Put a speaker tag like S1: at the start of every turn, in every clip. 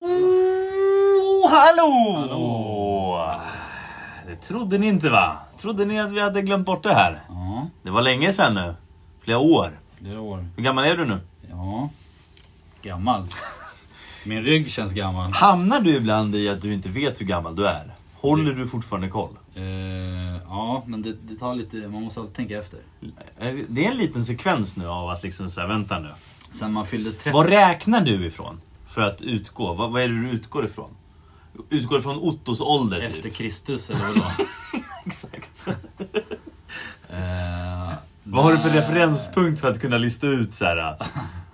S1: Och Oh, hallå! Det trodde ni inte va? Trodde ni att vi hade glömt bort det här?
S2: Ja,
S1: Det var länge sedan nu. Flera år.
S2: flera år.
S1: Hur gammal är du nu?
S2: Ja. Gammal. Min rygg känns gammal.
S1: Hamnar du ibland i att du inte vet hur gammal du är? Håller du fortfarande koll?
S2: Eh, ja, men det, det tar lite, man måste alltid tänka efter.
S1: Eh, Det är en liten sekvens nu av att liksom så här, vänta nu.
S2: Sen man fyllde 30...
S1: Vad räknar du ifrån? För att utgå? Vad, vad är det du utgår ifrån? Utgår ifrån Ottos ålder typ?
S2: Efter Kristus eller vadå?
S1: Exakt.
S2: eh,
S1: Vad har du för
S2: nej.
S1: referenspunkt för att kunna lista ut så här?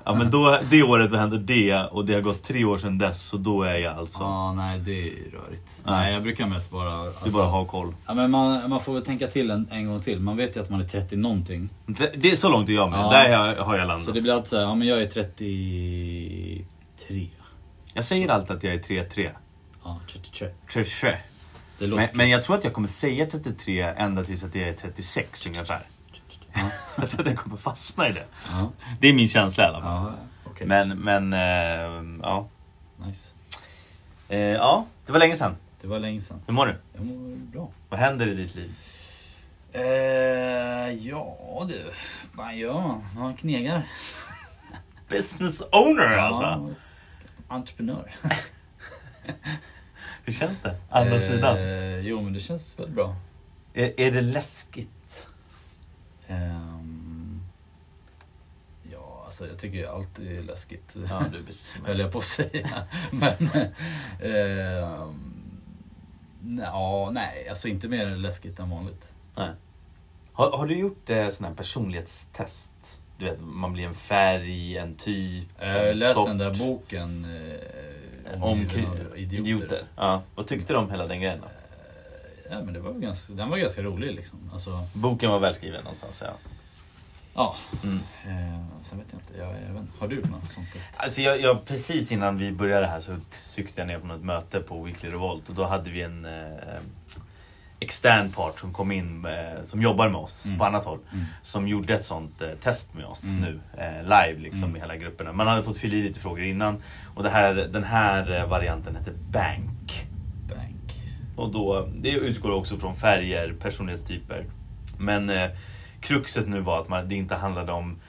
S1: Ja men då, det året hände det och det har gått tre år sedan dess så då är jag alltså.
S2: Ja, nej det är rörigt. Nej, jag brukar mest bara...
S1: Du
S2: Alltså,
S1: bara har koll.
S2: ja, men man, man får väl tänka till en, en gång till. Man vet ju att man är 30 någonting.
S1: Det, det är så långt är jag med.
S2: Ja.
S1: Där har jag, har jag landat.
S2: Så det blir alltid såhär, ja men jag är 33.
S1: Jag säger alltid att jag är 3-3.
S2: Ja, 33.
S1: 33.
S2: Det låter...
S1: Men, men jag tror att jag kommer säga 33 ända tills att jag är 36 ungefär. Jag tror att jag kommer fastna i det.
S2: Ja,
S1: Det är min känsla i alla fall.
S2: ja okej.
S1: Men, men, eh, ja.
S2: Nice.
S1: Eh, ja, det var länge sedan.
S2: Det var länge sedan.
S1: Hur mår du?
S2: Jag mår bra.
S1: Vad händer i ditt liv?
S2: Eh, ja du, fan gör man? Man knegar.
S1: Business owner alltså!
S2: Ja, entreprenör.
S1: Hur känns det? Andra sidan.
S2: Eh, jo men det känns väldigt bra.
S1: Är, är det läskigt?
S2: Ehm, ja alltså jag tycker ju allt är läskigt.
S1: du är precis som
S2: Höll jag på att säga. Men... ehm, nej, ja, nej, alltså inte mer läskigt än vanligt.
S1: Nej. Har, har du gjort eh, sån här personlighetstest? Du vet, man blir en färg, en typ,
S2: Jag
S1: en
S2: läste
S1: sort.
S2: Eh, den där boken eh,
S1: Om
S2: idioter.
S1: kri- idioter. Ja. Vad tyckte du om hela den grejen då?
S2: Ja, men det var väl ganska, den var ganska rolig liksom. Alltså,
S1: Boken var välskriven någonstans ja.
S2: ja.
S1: Mm.
S2: Eh, sen vet jag inte, jag, jag vet, inte. har du gjort något sånt test?
S1: Alltså jag, jag, precis innan vi började här så cyklade jag ner på något möte på Weekly Revolt och då hade vi en eh, extern part som kom in eh, som jobbar med oss
S2: Mm.
S1: på annat håll.
S2: Mm.
S1: Som gjorde ett sånt eh, test med oss
S2: Mm.
S1: nu eh, live liksom
S2: Mm.
S1: i hela grupperna. Man hade fått fylla i lite frågor innan och det här, den här eh, varianten heter Bank.
S2: Bank.
S1: Och då, det utgår också från färger, personlighetstyper. Men eh, kruxet nu var att man, det inte handlade om...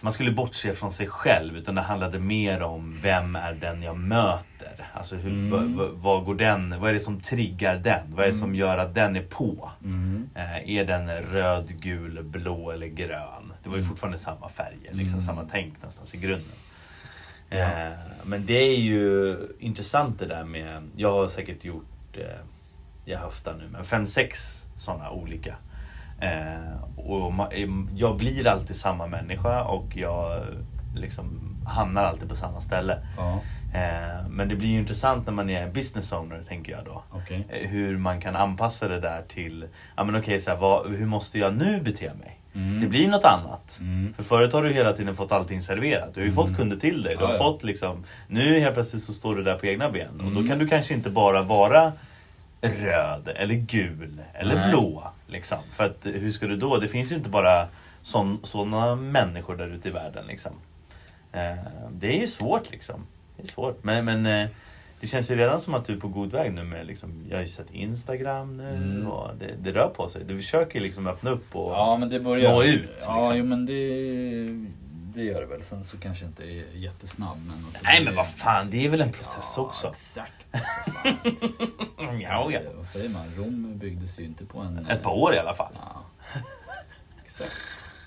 S1: Man skulle bortse från sig själv utan det handlade mer om vem är den jag möter? Alltså hur,
S2: Mm.
S1: vad- vad- vad går den? Vad är det som triggar den? Vad är det som gör att den är på?
S2: Mm.
S1: Eh, är den röd, gul, blå eller grön? Det var ju fortfarande samma färger, liksom,
S2: Mm.
S1: samma tänk nästan i grunden.
S2: Ja.
S1: Eh, men det är ju intressant det där med, jag har säkert gjort, eh, jag höftar nu, men fem, sex sådana olika. Eh, och ma- em, jag blir alltid samma människa och jag liksom hamnar alltid på samma ställe.
S2: Ja,
S1: Eh, men det blir ju intressant när man är business owner tänker jag då
S2: okej.
S1: eh, hur man kan anpassa det där till, ja men okej, så här, vad, hur måste jag nu bete mig?
S2: Mm.
S1: Det blir något annat.
S2: Mm.
S1: För förut har du hela tiden fått allting serverat. Du har ju fått kunder till dig. Du
S2: Ja,
S1: har
S2: ja.
S1: fått liksom, nu helt plötsligt så står du där på egna ben. Och
S2: Mm.
S1: då kan du kanske inte bara vara röd eller gul eller
S2: Nej.
S1: blå. Liksom. För att hur ska du då? Det finns ju inte bara sådana människor där ute i världen. Liksom. Eh, det är ju svårt liksom. Det är svårt. Men, men eh, det känns ju redan som att du är på god väg nu med liksom, jag har ju sett Instagram nu
S2: Mm.
S1: och det, det rör på sig. Du försöker liksom öppna upp och...
S2: Ja men det börjar...
S1: Nå ut,
S2: Ja
S1: liksom.
S2: jo, men det, det gör det väl. Sen så kanske jag inte är jättesnabb men... Alltså,
S1: Nej
S2: det-
S1: men vad fan, det är väl en process
S2: ja,
S1: också.
S2: exakt. Alltså, fan.
S1: Mm, ja, ja.
S2: Eh, Vad säger man? Rom byggdes ju inte på en...
S1: Ett par år i alla fall.
S2: Ja. Exakt.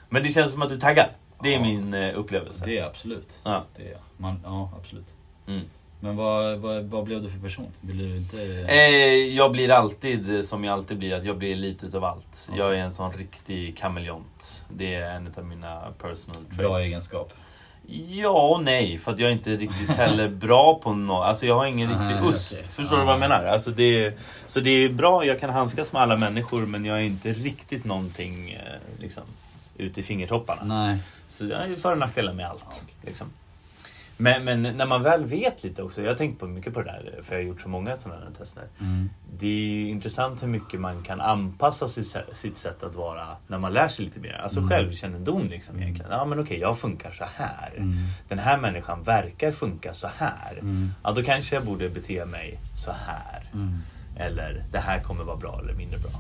S1: Men det känns som att du är taggad. Det är
S2: Ja.
S1: min eh, upplevelse.
S2: Det är absolut.
S1: Ja.
S2: Det är jag. Man, ja, absolut.
S1: Mm.
S2: Men vad, vad, vad blev du för person? Vill du inte...
S1: Eh, jag blir alltid eh, som jag alltid blir, att jag blir lite utav allt.
S2: Okej.
S1: Jag är en sån riktig kameleont. Det är en av mina personal traits.
S2: Bra egenskap.
S1: Ja och nej, för att jag är inte riktigt heller bra på något. Alltså jag har ingen
S2: Aha,
S1: riktig USP.
S2: okej.
S1: Förstår du vad jag menar? Alltså det är, så det är bra, jag kan handskas med alla människor men jag är inte riktigt någonting eh, liksom, ut i fingertopparna.
S2: Nej.
S1: Så det är ju för och nackdelar med allt. Liksom. Men, men när man väl vet lite också. Jag har tänkt på mycket på det där för jag har gjort så många sådana här tester.
S2: Mm.
S1: Det är ju intressant hur mycket man kan anpassa sitt sä- sitt sätt att vara när man lär sig lite mer. Alltså
S2: Mm.
S1: självkännedom liksom egentligen. Ja men okej, jag funkar så här.
S2: Mm.
S1: Den här människan verkar funka så här.
S2: Mm.
S1: Ja, då kanske jag borde bete mig så här.
S2: Mm.
S1: Eller det här kommer vara bra eller mindre bra.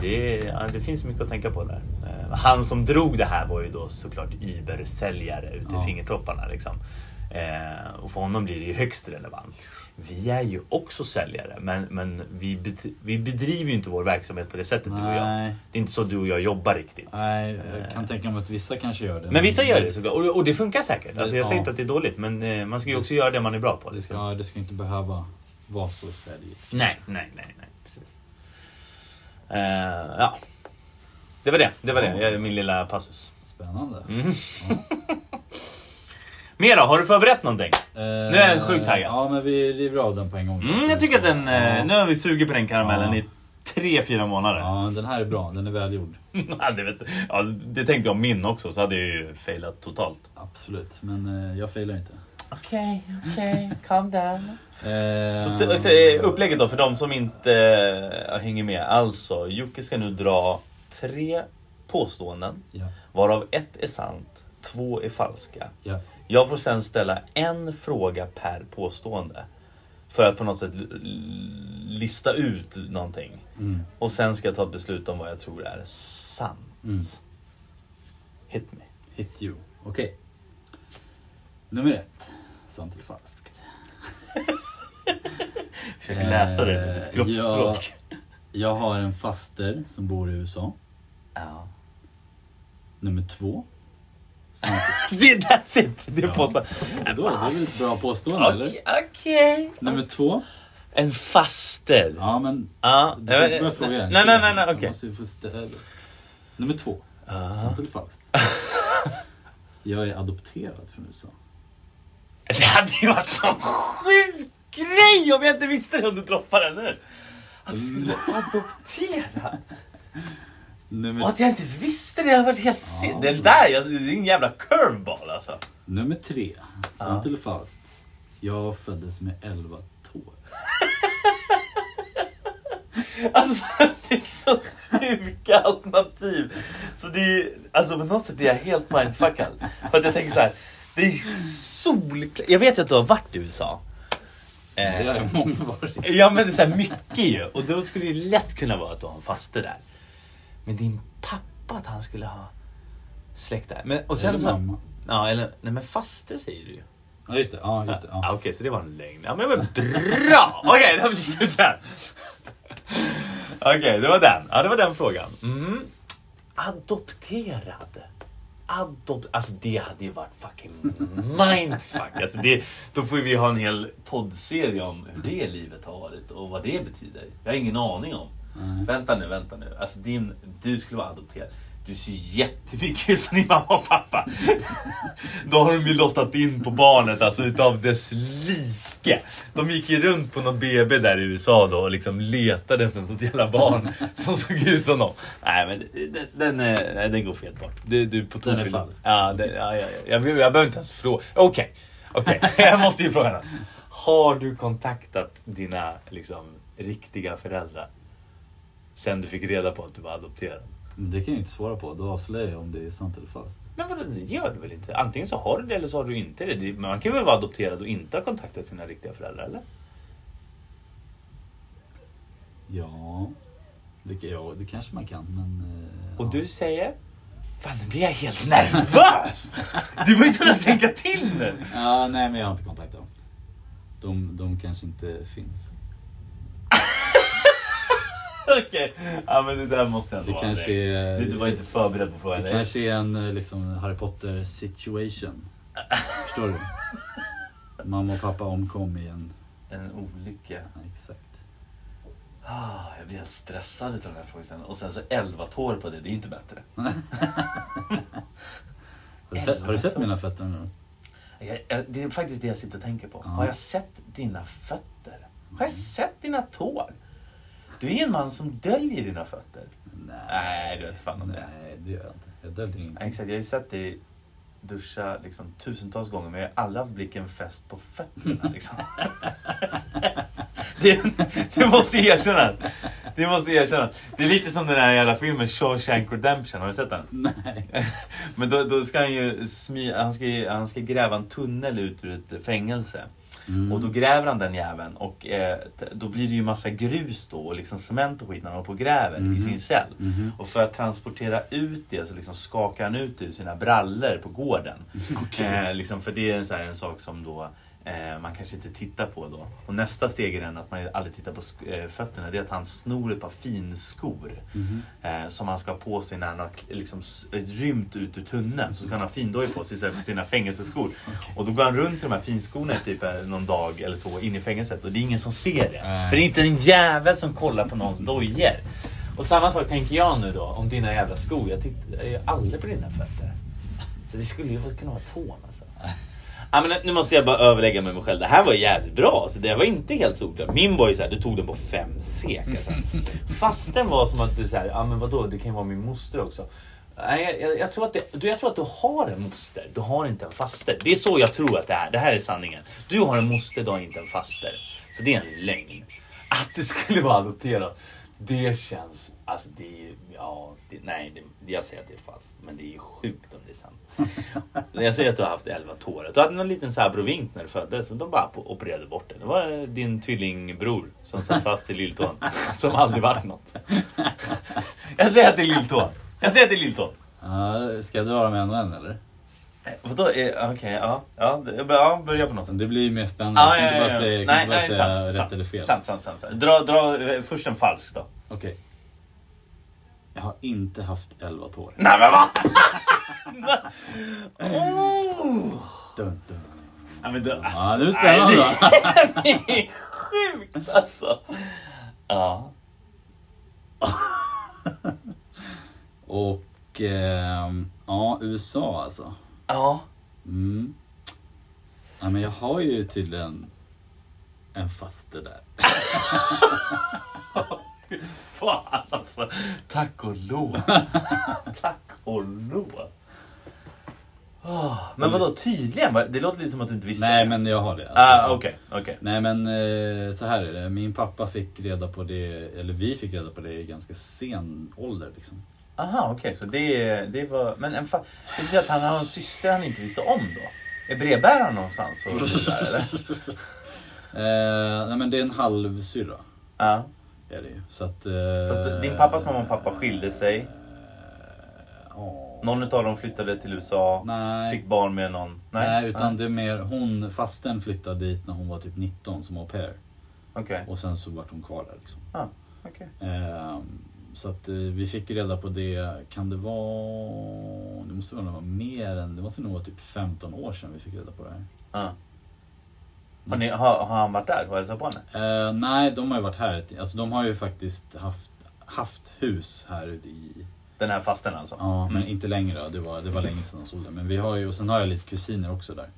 S1: Det, är- ja, det finns mycket att tänka på där. Eh, Han som drog det här var ju då såklart Uber-säljare ute
S2: Ja.
S1: i fingertopparna. Liksom. Eh, och för honom blir det ju högst relevant. Vi är ju också säljare men, men vi, bet- vi bedriver ju inte vår verksamhet på det sättet du och jag.
S2: Nej.
S1: Det är inte så du och jag jobbar riktigt.
S2: Nej, jag kan tänka mig att vissa kanske gör det.
S1: Men vissa gör det såklart och, och det funkar säkert. Alltså, jag
S2: Ja.
S1: säger inte att det är dåligt men eh, man ska ju också
S2: Det-
S1: göra det man är bra på. liksom.
S2: Det ska, det ska inte behöva vara så säljigt.
S1: Nej, nej, nej. nej precis. Eh, ja. Det var det. Det var det. Eh, Min lilla passus.
S2: Spännande.
S1: Mm. Mera, har du förberett någonting?
S2: Eh,
S1: Nu är jag sjukt taggad.
S2: Ja, men vi river av den på en gång.
S1: Mm, jag tycker att den... eh, Nu har vi sugit på den karamellen
S2: Ja.
S1: i tre, fyra månader. Ja.
S2: Ja, den här är bra. Den är välgjord.
S1: det, vet, ja, det tänkte jag om min också, så hade jag ju failat totalt.
S2: Absolut, men eh, jag failar inte.
S1: Okej, okej. Calm down.
S2: Eh,
S1: Så t- så, eh, upplägget då för de som inte eh, hänger med. Alltså, Jocke ska nu dra tre påståenden.
S2: Ja,
S1: Varav ett är sant, två är falska.
S2: ja.
S1: Jag får sen ställa en fråga per påstående. För att på något sätt l- l- lista ut någonting.
S2: Mm.
S1: Och sen ska jag ta ett beslut om vad jag tror är sant.
S2: Mm.
S1: Hit me.
S2: Hit you. Okej. Nummer ett. Sant eller falskt?
S1: Försöker läsa det med
S2: Eh,
S1: mitt kroppsspråk.
S2: Jag har en faster som bor i USA.
S1: Ja.
S2: Nummer två. Sant.
S1: Det- That's it! Det är
S2: Ja.
S1: påståendet.
S2: Då, det är väl ett bra påstående eller?
S1: Okej. okej.
S2: Nummer två.
S1: En faster. Ja.
S2: Ja men du får
S1: jag
S2: inte börja
S1: vet-
S2: fråga
S1: nej,
S2: än.
S1: nej, nej, nej,
S2: Jag
S1: okej. Ah.
S2: måste ju få stä- Nummer två.
S1: Ja.
S2: Sant eller falskt? Jag är adopterad från USA.
S1: Det hade ju varit så sjuk grej om jag inte visste det om du droppade den nu. Att du skulle adoptera. Och
S2: Nummer,
S1: att jag inte visste det, jag har varit helt sin...
S2: Ja.
S1: Den där, jag, det är en jävla curveball alltså.
S2: nummer tre. Sant
S1: Ja.
S2: eller falskt? Jag föddes med elva tår.
S1: Alltså det är så sjuka alternativ. Så det är, alltså på något sätt blir jag helt mindfuckad. För att jag tänker så här, det är solklart. Jag vet ju att du har varit i USA.
S2: Det
S1: Eh,
S2: har många varit.
S1: ja men så här, mycket ju. Och då skulle det ju lätt kunna vara att du har en faste där. Men din pappa, att han skulle ha släkt där. Men, och sen
S2: Eller
S1: så,
S2: mamma.
S1: Ja eller, nej men faste säger du ju.
S2: Ja just det. Ja, just det.
S1: Ah,
S2: Ja.
S1: Okej, så det var en lögn. Ja, men det var bra! Okej, det har vi slut där. Okej, det var den. Ja, det var den frågan. Mm. Adopterad. Adopt... Alltså det hade ju varit fucking mindfuck. Alltså, det... Då får vi ha en hel poddserie om hur det livet har varit och vad det betyder. Jag har ingen aning om.
S2: Nej.
S1: Vänta nu, vänta nu. Alltså din... du skulle vara adopterad. Du ser jättemycket ut som din mamma och pappa. Då har de ju lottat in på barnet, alltså utav dess like. De gick ju runt på någon BB där i USA då och liksom letade efter något jävla barn som såg ut som dem. Nej men den, den, är- nej, den går fel bort. Du, du är på
S2: Den är
S1: tokfyllan.
S2: falsk.
S1: Ja, den, ja, ja, ja. Jag, behöver- jag behöver inte ens fråga. Okej, okej. jag måste ju fråga henne. Har du kontaktat dina liksom, riktiga föräldrar? Sen du fick reda på att du var adopterad.
S2: Men det kan jag ju inte svara på. Då avslöjar jag om det är sant eller falskt.
S1: Men vadå, det gör du väl inte? Antingen så har du det eller så har du inte det. det. Man kan väl vara adopterad och inte ha kontaktat sina riktiga föräldrar eller?
S2: Ja. Det, kan- ja, det kanske man kan men... eh,
S1: Och
S2: ja.
S1: du säger? Fan nu blir jag helt nervös! Du var ju tvungen att tänka till nu!
S2: Ja, nej men jag har inte kontaktat dem. De, de kanske inte finns.
S1: Okej, ja men det där måste ändå
S2: Det
S1: vara
S2: kanske
S1: direkt.
S2: är...
S1: Du, du var inte förberedd på frågan.
S2: Det kanske är en eh, liksom, Harry Potter situation. Förstår du? Mamma och pappa omkom i en...
S1: En olycka.
S2: Ja, exakt.
S1: Ah, jag blir helt stressad utav den här frågeställningen. Och sen så 11 tår på det, det är inte bättre.
S2: Har du, sett, har du sett mina fötter nu?
S1: Jag, jag, det är faktiskt det jag sitter och tänker på.
S2: Ja.
S1: Har jag sett dina fötter? Har jag sett dina tår? Du är ju en man som döljer dina fötter. Nej, du vet fan om det.
S2: Nej, det gör jag inte. Jag döljer ingenting.
S1: Exakt, jag har ju sett dig duscha liksom, tusentals gånger men jag har aldrig haft blicken fäst på fötterna. Liksom. det, det måste erkännas. Det måste erkännas. Det är lite som den här jävla filmen Shawshank Redemption. Har du sett den?
S2: Nej.
S1: Men då, då ska han ju smy, han ska, ju- han ska gräva en tunnel ut ur ett fängelse.
S2: Mm.
S1: Och då gräver han den jäveln och eh, t- då blir det ju massa grus då och liksom cement och skit när han håller på och gräver i sin cell.
S2: Mhm.
S1: Och för att transportera ut det så liksom skakar han ut det ur sina brallor på gården. Eh, liksom, för det är en, så här, en sak som då eh, man kanske inte tittar på då. Och nästa steg i den att man aldrig tittar på sk- eh, fötterna det är att han snor ett par finskor.
S2: Mhm.
S1: Eh, som han ska ha på sig när han har liksom, s- rymt ut ur tunneln. Så ska han ha findojor på sig istället för sina fängelseskor. Och då går han runt i de här finskorna i typ eh, någon dag eller två in i fängelset och det är ingen som ser det.
S2: Nej.
S1: För det är inte en jävel som kollar på någons dojor. Och samma sak tänker jag nu då om dina jävla skor. Jag tittar jag är aldrig på dina fötter. Så det skulle ju kunna vara tån alltså. Ja, men nu måste jag bara överlägga med mig själv. Det här var jävligt bra. Alltså, det var inte helt solklart. Min var ju såhär, du tog den på fem sek. Alltså. Fast den var som att du såhär, ja men vadå, det kan ju vara min moster också. Nej, jag, jag, jag, tror att det, du, jag tror att du har en moster, du har inte en faster. Det är så jag tror att det är. Det här är sanningen. Du har en moster, du har inte en faster. Så det är en lögn. Att du skulle vara adopterad, det känns... Alltså det är ju... Ja, det, nej, det, jag säger att det är falskt. Men det är ju sjukt om det är sant. Men Jag säger att du har haft 11 tårar. Du hade någon liten så här abrovink när du föddes men de bara på- opererade bort den. Det var eh, din tvillingbror som satt fast i lilltån. Som aldrig vart något. Jag säger att det är lilltån. Jag säger att det är lilltån.
S2: Ja, ska jag dra dem en och en eller?
S1: Eh, Vadå? Eh, Okej, ja. Ja, det- ja, börja på något sätt.
S2: Det blir ju mer spännande.
S1: Ja,
S2: jag kan
S1: ja, ja,
S2: inte bara
S1: ja.
S2: säga, jag kan
S1: Nej,
S2: inte bara
S1: nej,
S2: säga
S1: sant,
S2: rätt
S1: sant,
S2: eller fel.
S1: Sant, sant, sant. sant. Dra, dra eh, först en falsk då.
S2: Okej. Jag har inte haft elva tår.
S1: Nej men vad! oh!
S2: Dun, dun.
S1: Ja, men du, alltså,
S2: Ja, nu är det spännande då.
S1: nej, det är sjukt alltså. Ja.
S2: Och ehm, ja, USA alltså.
S1: Ja.
S2: Mm. Ja, men jag har ju tydligen en faster där.
S1: Fan alltså. Tack och lov. Tack och lov. Ah, men vadå tydligen? Va- Det låter lite som att du inte visste.
S2: Nej, men jag har det. alltså.
S1: Ah, Okej, okej.
S2: Nej men eh, så här är det. Min pappa fick reda på det, eller vi fick reda på det i ganska sen ålder liksom.
S1: Aha, okej. Så det, det var... Men en fa- det betyder att han har en syster han inte visste om då? Är brevbäraren någonstans? Och där, eller?
S2: Eh, nej men det är en halvsyrra.
S1: Ja.
S2: Är det ju. Så att... Eh,
S1: Så att din pappas mamma och pappa skilde sig.
S2: ja.
S1: Någon utav dem flyttade till USA.
S2: Nej.
S1: Fick barn med någon.
S2: Nej, utan det är mer hon, fasten flyttade dit när hon var typ 19 som au pair.
S1: Ah, Okej.
S2: Och sen så vart hon kvar där liksom.
S1: Ah, okej.
S2: Ehm, så att eh, vi fick reda på det, kan det vara... Det måste väl vara mer än, det måste nog vara typ 15 år sedan vi fick reda på det här.
S1: Ja. Har, ni, har, har han varit där och hälsat på henne?
S2: Eh, nej, de har ju varit här. ett- Alltså de har ju faktiskt haft, haft hus här ute i...
S1: Den här fasten alltså?
S2: Ja, men inte längre. då. Det var, det var länge sedan de såg det. Men vi har ju, och sen har jag lite kusiner också där.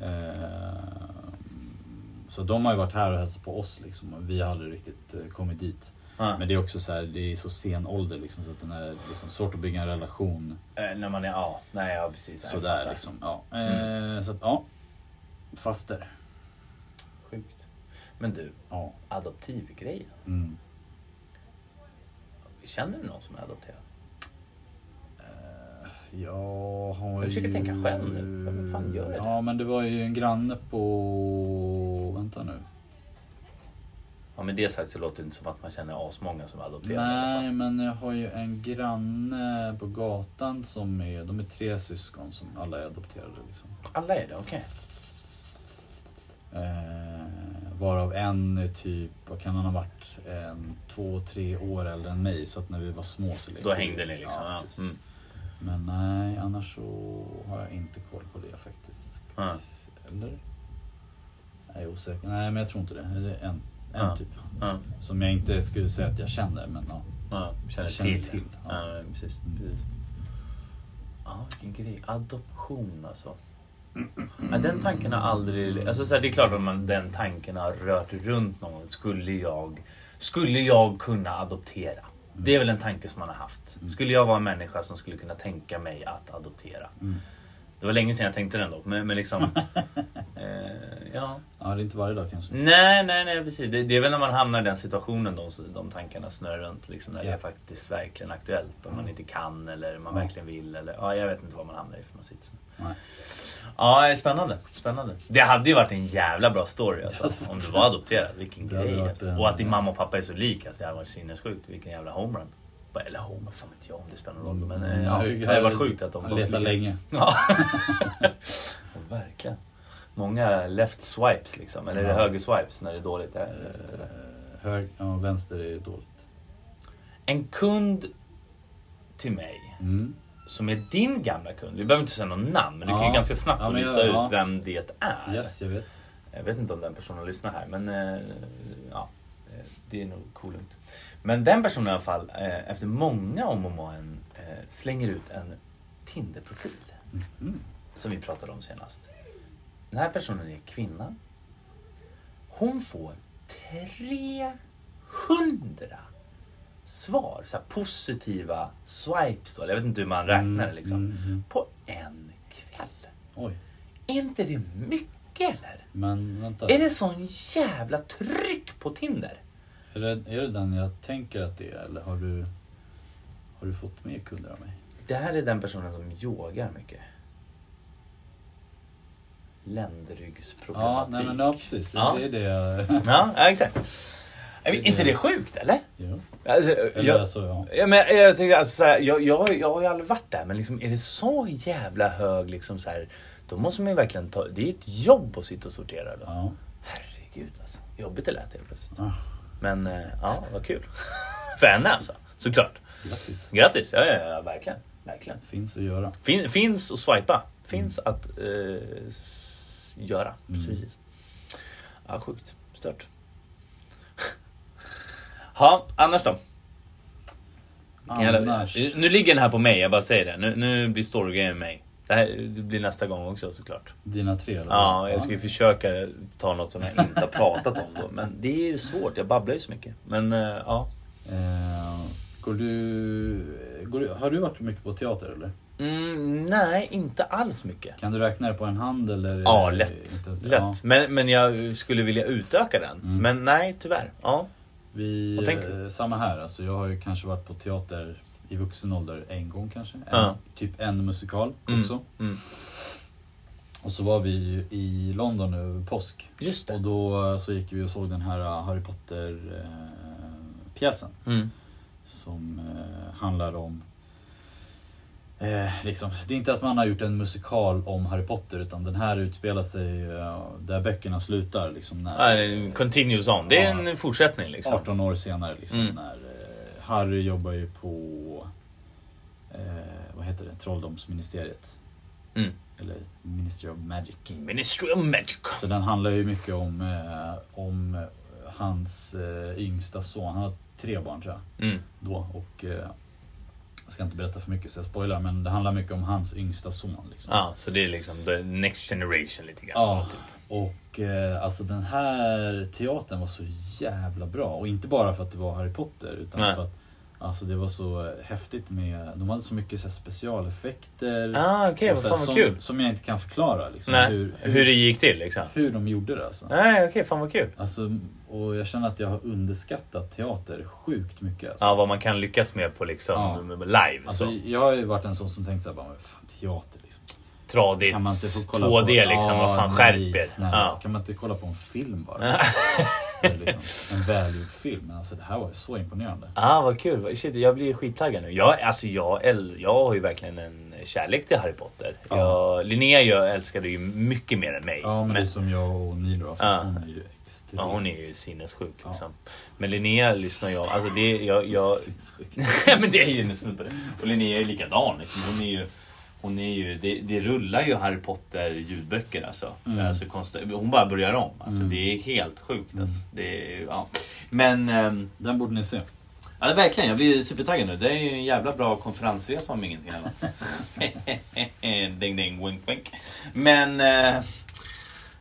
S2: Ehm, så de har ju varit här och hälsat på oss liksom. Och vi har aldrig riktigt eh, kommit dit.
S1: Ja.
S2: Men det är också så här, det är så sen ålder liksom. Så att den är liksom svårt att bygga en relation
S1: Eh, när man är, ja, nej ja precis. jag
S2: sådär
S1: fattar. Mm.
S2: liksom. Ja. Eh, så att ja. Faster.
S1: Sjukt. Men du,
S2: Ja.
S1: adoptivgrejen.
S2: Mm.
S1: Känner du någon som är adopterad?
S2: Jag har
S1: Jag försöker
S2: ju...
S1: tänka själv nu. Vem fan gör det?
S2: Ja men det var ju en granne på... Vänta nu.
S1: Ja, med det sagt så låter det inte som att man känner asmånga som är adopterade. i alla fall.
S2: Nej men jag har ju en granne på gatan som är... De är tre syskon som alla är adopterade liksom.
S1: Alla är det, okej.
S2: Eh, varav en är typ, vad kan han ha varit, en, två, tre år äldre än mig. Så att när vi var små så lekte
S1: Då
S2: vi.
S1: hängde ni liksom. Ja,
S2: precis.
S1: mm.
S2: Men nej, annars så har jag inte koll på det faktiskt.
S1: Ja.
S2: Eller? Jag är osäker. Nej, men jag tror inte det. Det är en, en
S1: Ja.
S2: typ.
S1: ja,
S2: Som jag inte skulle säga att jag känner, men ja.
S1: ja. Känner
S2: Jag känner
S1: till.
S2: till,
S1: Ja,
S2: ja.
S1: precis.
S2: Mm.
S1: Ja, vilken grej. Adoption alltså. Men den tanken har aldrig... Alltså så här, det är klart att man, den tanken har rört runt någon. Skulle jag, skulle jag kunna adoptera?
S2: Mm.
S1: Det är
S2: Mm.
S1: väl en tanke som man har haft. Skulle jag vara en människa som skulle kunna tänka mig att adoptera? Det var länge sedan jag tänkte den dock. Men, men liksom... eh, ja.
S2: Ja, det är inte varje dag kanske.
S1: Nej, nej, nej precis. Det, det är väl när man hamnar i den situationen de, de tankarna snurrar runt. Liksom, när det
S2: Ja. Mm.
S1: är faktiskt verkligen aktuellt. Om man inte kan eller man
S2: Ja.
S1: verkligen vill. Eller, ja, jag vet inte vad man hamnar i för någon sits.
S2: Nej.
S1: Ja, det är spännande. spännande. Det hade ju varit en jävla bra story alltså, om du var adopterad. Vilken
S2: Det hade
S1: grej.
S2: varit
S1: Alltså.
S2: en-
S1: Och att din mamma och pappa är så lika. Alltså, det hade varit sinnessjukt. Vilken jävla homerun. Eller homerun, fan vet jag om det spelar någon
S2: Mm.
S1: roll. Men eh, ja, det hade varit sjukt att de
S2: Jag letar
S1: lika.
S2: länge.
S1: Ja. Verkligen. Många left swipes liksom. Eller är det
S2: Ja.
S1: höger swipes när det är dåligt? Där?
S2: Eh, Hög, ja, vänster är dåligt.
S1: En kund till mig
S2: Mm.
S1: som är din gamla kund. Vi behöver inte säga någon namn men du kan
S2: Ja.
S1: ju ganska snabbt
S2: Ja, men
S1: lista
S2: jag-
S1: ut
S2: ja.
S1: vem det är.
S2: Yes, jag vet.
S1: Jag vet inte om den personen lyssnar här men eh, ja, eh, det är nog coolt. Men den personen i alla fall, eh, efter många om och men, eh, slänger ut en Tinder-profil.
S2: Mm.
S1: som vi pratade om senast. Den här personen är kvinna. Hon får 300 svar, så här positiva swipes då, eller jag vet inte hur man räknar det liksom,
S2: Mm, mm.
S1: på en kväll.
S2: Oj,
S1: Är inte det mycket eller?
S2: men vänta.
S1: Är det sån jävla tryck på Tinder?
S2: Är det, är det den jag tänker att det är eller har du, har du fått mer kunder av mig?
S1: Det här är den personen som yogar mycket.
S2: Ja,
S1: Ländryggsproblematik.
S2: nej men ja, precis.
S1: Ja.
S2: Det är det jag...
S1: Ja, ja exakt. Är inte det sjukt eller?
S2: Jo.
S1: Alltså,
S2: Eller
S1: jag,
S2: alltså, ja.
S1: ja, men jag, tänkte, alltså, så här, jag, jag, jag har ju aldrig varit där men liksom, är det så jävla hög liksom så här, då måste man ju verkligen ta, det är ett jobb att sitta och sortera då.
S2: ja.
S1: Herregud alltså, jobbigt det lät helt plötsligt.
S2: Ah,
S1: Men eh, ja, vad kul. För henne alltså, såklart.
S2: grattis.
S1: Grattis, ja, ja, ja verkligen. verkligen.
S2: Finns att göra.
S1: Fin, finns att swipa, finns att eh, s- göra.
S2: Mm.
S1: Precis. Ja, sjukt. Stört. Ja, annars då?
S2: Annars.
S1: Jävla- Nu ligger den här på mig, jag bara säger det. Nu, nu blir storygrejen mig. Det, här, det blir nästa gång också såklart.
S2: Dina tre eller?
S1: Ja, jag ska ju försöka ta något som jag inte har pratat om då. Men det är svårt, jag babblar ju så mycket. Men eh, ja.
S2: Eh, går, du, går du... Har du varit mycket på teater eller?
S1: Mm, nej, inte alls mycket.
S2: Kan du räkna det på en hand eller?
S1: Ja,
S2: eh,
S1: lätt.
S2: inte ens det? Ja.
S1: lätt. Men, men jag skulle vilja utöka den.
S2: Mm.
S1: Men nej, tyvärr. Ja.
S2: Vi,
S1: Vad tänker du?
S2: eh, samma här, alltså, jag har ju kanske varit på teater i vuxen ålder en gång kanske. En,
S1: Ja.
S2: Typ en musikal
S1: Mm.
S2: också.
S1: Mm.
S2: Och så var vi ju i London över påsk.
S1: Just
S2: Och
S1: det.
S2: då eh, så gick vi och såg den här eh, Harry Potter eh, pjäsen.
S1: Mm.
S2: Som eh, handlar om eh, liksom, Det är inte att man har gjort en musikal om Harry Potter utan den här utspelar sig eh, där böckerna slutar. Liksom, när,
S1: Ja, det är en Continuous on. Det är
S2: Ja.
S1: en fortsättning liksom.
S2: 18 år senare liksom
S1: Mm.
S2: när eh, Harry jobbar ju på eh, vad heter det? Trolldomsministeriet.
S1: Mm.
S2: Eller Ministry of Magic.
S1: Ministry of Magic.
S2: Så den handlar ju mycket om, eh, om eh, hans eh, yngsta son. Han har tre barn tror jag.
S1: Mm.
S2: Då, och, eh, jag ska inte berätta för mycket så jag spoilar men det handlar mycket om hans yngsta son. Liksom.
S1: Ja, så det är liksom the next generation lite grann.
S2: Ja, och eh, alltså den här teatern var så jävla bra. Och inte bara för att det var Harry Potter utan
S1: Nej.
S2: för att alltså, det var så häftigt med, de hade så mycket så här, specialeffekter.
S1: Ah, okej,
S2: och
S1: vad
S2: så här,
S1: fan vad
S2: som,
S1: kul.
S2: som jag inte kan förklara liksom,
S1: Nej,
S2: hur,
S1: hur det gick till liksom.
S2: hur de gjorde det alltså.
S1: Nej, okej, fan vad kul.
S2: Alltså, och jag känner att jag har underskattat teater sjukt mycket. Alltså.
S1: Ja, vad man kan lyckas med på liksom live.
S2: Alltså,
S1: så.
S2: jag har ju varit en sån som tänkt såhär, bara, men fan teater liksom.
S1: Tradigt, 2D liksom. Vad fan,
S2: nej,
S1: skärp er.
S2: snälla.
S1: Ja.
S2: Kan man inte kolla på en film bara? Eller liksom, en välgjord film. Men alltså det här var ju så imponerande.
S1: Ah, vad kul. Shit, jag blir skittaggad nu. Jag, alltså, jag, äl- jag har ju verkligen en kärlek till Harry Potter.
S2: Ja.
S1: Jag, Linnea jag älskade ju mycket mer än mig.
S2: Ja men, det är
S1: Men-
S2: som jag och Nilo då,
S1: Ja.
S2: fast hon är ju extremt
S1: ja, hon är ju sinnessjuk liksom. Men Linnea lyssnar jag... Alltså, det, jag, jag
S2: sinnessjuk.
S1: Nej men det är ju en snudd på det. Och Linnea är ju likadan. liksom. Hon är ju, hon är ju, det, det rullar ju Harry Potter ljudböcker alltså.
S2: Mm.
S1: alltså konstant, hon bara börjar om. Alltså, Det är helt sjukt. Alltså.
S2: Mm.
S1: Det är, ja. Men ehm,
S2: Den borde ni se.
S1: ja, det- verkligen, jag blir supertaggad nu. Det är ju en jävla bra konferensresa om ingenting annat. ding ding, wink wink. Men eh,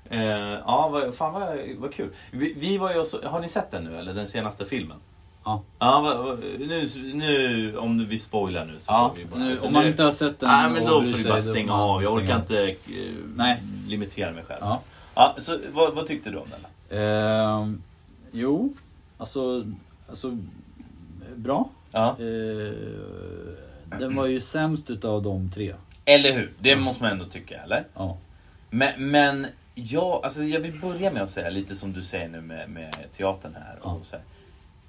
S1: eh, ja, vad, fan vad, vad kul. Vi, vi var ju också, har ni sett den nu eller? Den senaste filmen?
S2: Ja.
S1: Ja, va- va- nu, nu, om vi spoilar nu så
S2: Ja,
S1: får vi bara...
S2: nu,
S1: alltså,
S2: om
S1: nu-
S2: man inte har sett den
S1: Nej men
S2: och
S1: då
S2: bryr
S1: får du
S2: sig,
S1: bara
S2: då får
S1: stänga
S2: man
S1: av. Jag orkar
S2: stänga av.
S1: inte eh,
S2: Nej.
S1: limitera mig själv. Ja.
S2: Ja.
S1: så, vad, vad tyckte du om den?
S2: Ehm, jo, alltså, alltså bra.
S1: Ja.
S2: Ehm, den var ju sämst utav de tre.
S1: Eller hur? Det måste man ändå tycka, eller?
S2: Ja.
S1: Men, men jag, alltså jag vill börja med att säga lite som du säger nu med, med teatern här. Och
S2: Ja.
S1: så här.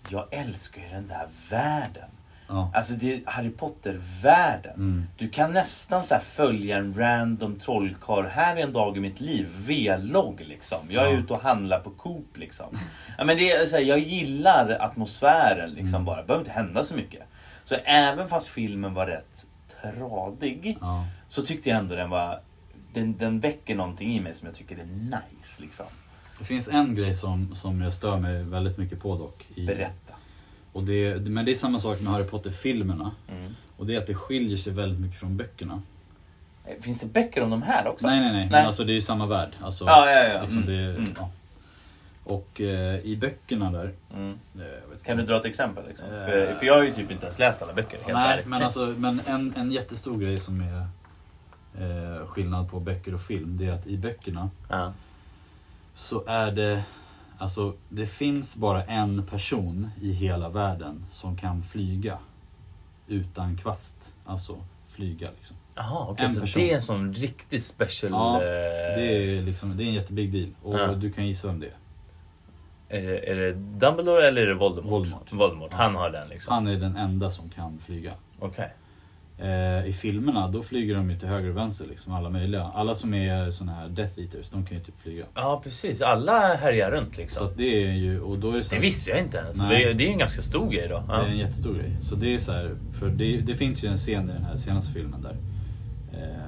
S1: Jag älskar ju den där världen.
S2: ja.
S1: Alltså det är Harry Potter-världen.
S2: Mm.
S1: Du kan nästan så här följa en random trollkarl. Här är en dag i mitt liv. V-logg liksom. Jag är
S2: Ja.
S1: ute och handlar på Coop liksom. Ja, men det är så här, jag gillar atmosfären liksom
S2: Mm.
S1: bara. Det behöver inte hända så mycket. Så även fast filmen var rätt tradig.
S2: ja.
S1: Så tyckte jag ändå den var... Den, den väcker någonting i mig som jag tycker är nice liksom.
S2: Det finns en grej som, som jag stör mig väldigt mycket på dock. I,
S1: Berätta.
S2: och det, men det är samma sak med Harry Potter-filmerna. Och det är att det skiljer sig väldigt mycket från böckerna.
S1: Eh, Finns det böcker om de här också?
S2: Nej, nej, nej. Men alltså det är ju samma värld. Alltså,
S1: Ja, ja, ja.
S2: Liksom
S1: Mm,
S2: det, är-
S1: mm.
S2: ja. Och eh, i böckerna där...
S1: Mm.
S2: eh, jag vet
S1: Kan du dra ett exempel? Liksom?
S2: Eh.
S1: För, för jag har ju typ inte ens läst alla böcker. Helt
S2: Nej,
S1: ärligt.
S2: men, alltså, men en, en jättestor grej som är eh, skillnad på böcker och film, det är att i böckerna
S1: Ja.
S2: så är det... Alltså, det finns bara en person i hela världen som kan flyga utan kvast. Alltså, flyga liksom.
S1: Jaha,
S2: En
S1: okej. Så
S2: person.
S1: det är en sån riktigt special...
S2: Ja,
S1: eh,
S2: Det är, liksom, det är en jättebig deal och
S1: Ja.
S2: du kan gissa vem det är.
S1: är, det, är det Dumbledore eller är det Voldemort?
S2: Voldemort. Ja.
S1: Han har den liksom.
S2: Han är den enda som kan flyga.
S1: Okej.
S2: Eh, I filmerna då flyger de ju till höger och vänster liksom, alla möjliga. Alla som är såna här Death Eaters, de kan ju typ flyga.
S1: Ja, precis. Alla härjar runt
S2: Så
S1: liksom.
S2: att det är ju, och då är det så
S1: Det
S2: här,
S1: visste jag inte ens.
S2: Nej.
S1: Det, är- det är ju en ganska stor grej då.
S2: Det är en
S1: Ja.
S2: jättestor grej. Så det är så här, för det, det finns ju en scen i den här senaste filmen där. Eh,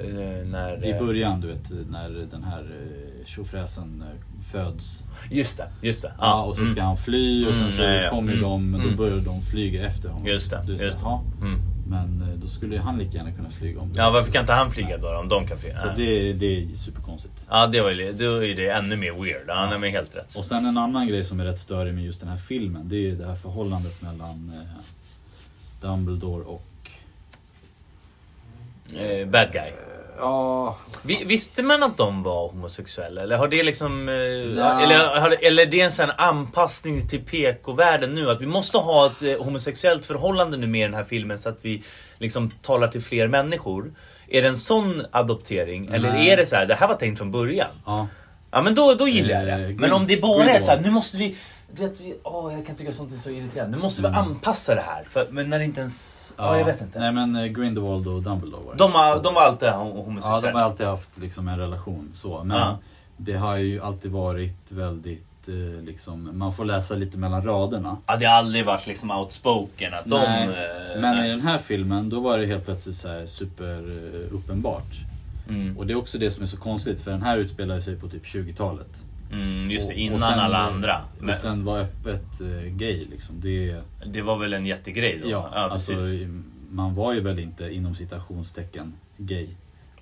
S1: Eh, När,
S2: I
S1: eh,
S2: början, du vet, när den här eh, tjofräsen eh, föds.
S1: Just det, just det.
S2: Ja, och så ska han fly och sen
S1: Mm,
S2: så
S1: ja, ja.
S2: kommer
S1: Mm,
S2: de, men då
S1: mm.
S2: börjar de flyga efter honom.
S1: Just det,
S2: Du är så här,
S1: just det.
S2: "Ja,
S1: Mm.
S2: Men eh, då skulle ju han lika gärna kunna flyga om. det."
S1: Ja, varför kan inte han flyga då om de kan flyga?
S2: Så
S1: Ja.
S2: det, det är superkonstigt.
S1: Ja, det var ju det, var ju det ännu mer weird. Ja, nej, men helt rätt.
S2: Och sen en annan grej som är rätt störig med just den här filmen, det är ju det här förhållandet mellan eh, Dumbledore och...
S1: Eh, bad guy.
S2: Ja,
S1: Vi, visste man att de var homosexuella? Eller har det liksom... Eh,
S2: Nej.
S1: eller, har, det- eller är det en sån här anpassning till PK-världen nu? Att vi måste ha ett eh, homosexuellt förhållande nu med i den här filmen så att vi liksom talar till fler människor. Är det en sån adoptering? Eller
S2: Nej.
S1: är det så här, det här var tänkt från början?
S2: ja.
S1: Ja men då, då gillar jag
S2: Eh,
S1: det.
S2: Grin-
S1: Men om det bara är
S2: Grindelwald.
S1: så här, nu måste vi... Du vet, vi åh, jag kan tycka sånt är så irriterande. Nu måste vi anpassa det här. För, men när det inte ens... Ja, jag vet inte.
S2: Mm. Nej men eh, Grindelwald och Dumbledore var det.
S1: De, har,
S2: Så-
S1: de var alltid hom-
S2: Ja, de har
S1: homosexuella.
S2: alltid haft liksom en relation så. Men
S1: Ja.
S2: det har ju alltid varit väldigt eh, liksom, man får läsa lite mellan raderna.
S1: Ja, det har aldrig varit liksom outspoken att de...
S2: Nej,
S1: eh,
S2: men i
S1: nej.
S2: den här filmen då var det helt plötsligt så här super eh, uppenbart.
S1: Mm,
S2: Och det är också det som är så konstigt för den här utspelar sig på typ 20-talet.
S1: mm, just det,
S2: Och- och
S1: innan
S2: sen-
S1: alla andra. Men
S2: Och sen var öppet eh, gay liksom. Det är,
S1: det var väl en jättegrej då?
S2: ja, alltså,
S1: precis.
S2: man var ju väl inte inom citationstecken gay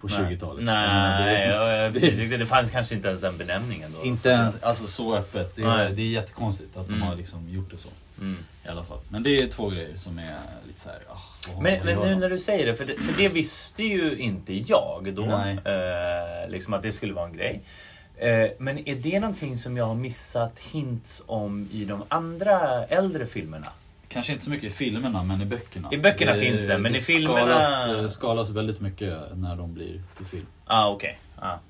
S2: på 20-talet.
S1: Nej,
S2: Jag menar, det-
S1: nej ja, ja, precis. Det fanns kanske inte ens den benämningen då.
S2: Inte ens alltså, så öppet. Det är,
S1: Nej.
S2: det är jättekonstigt att de
S1: Mm.
S2: har liksom gjort det så.
S1: Mm.
S2: I alla fall. Men det är två grejer som är lite såhär... Oh,
S1: Men, men nu när du säger det, för det, för det visste ju inte jag då.
S2: Nej.
S1: Eh, liksom att det skulle vara en grej. Eh, men är det någonting som jag har missat hints om i de andra äldre filmerna?
S2: Kanske inte så mycket i filmerna men i böckerna.
S1: I böckerna finns det, men i filmerna-
S2: Skalas, eh, skalas väldigt mycket när de blir till film.
S1: Ja, ah, okej. Ja,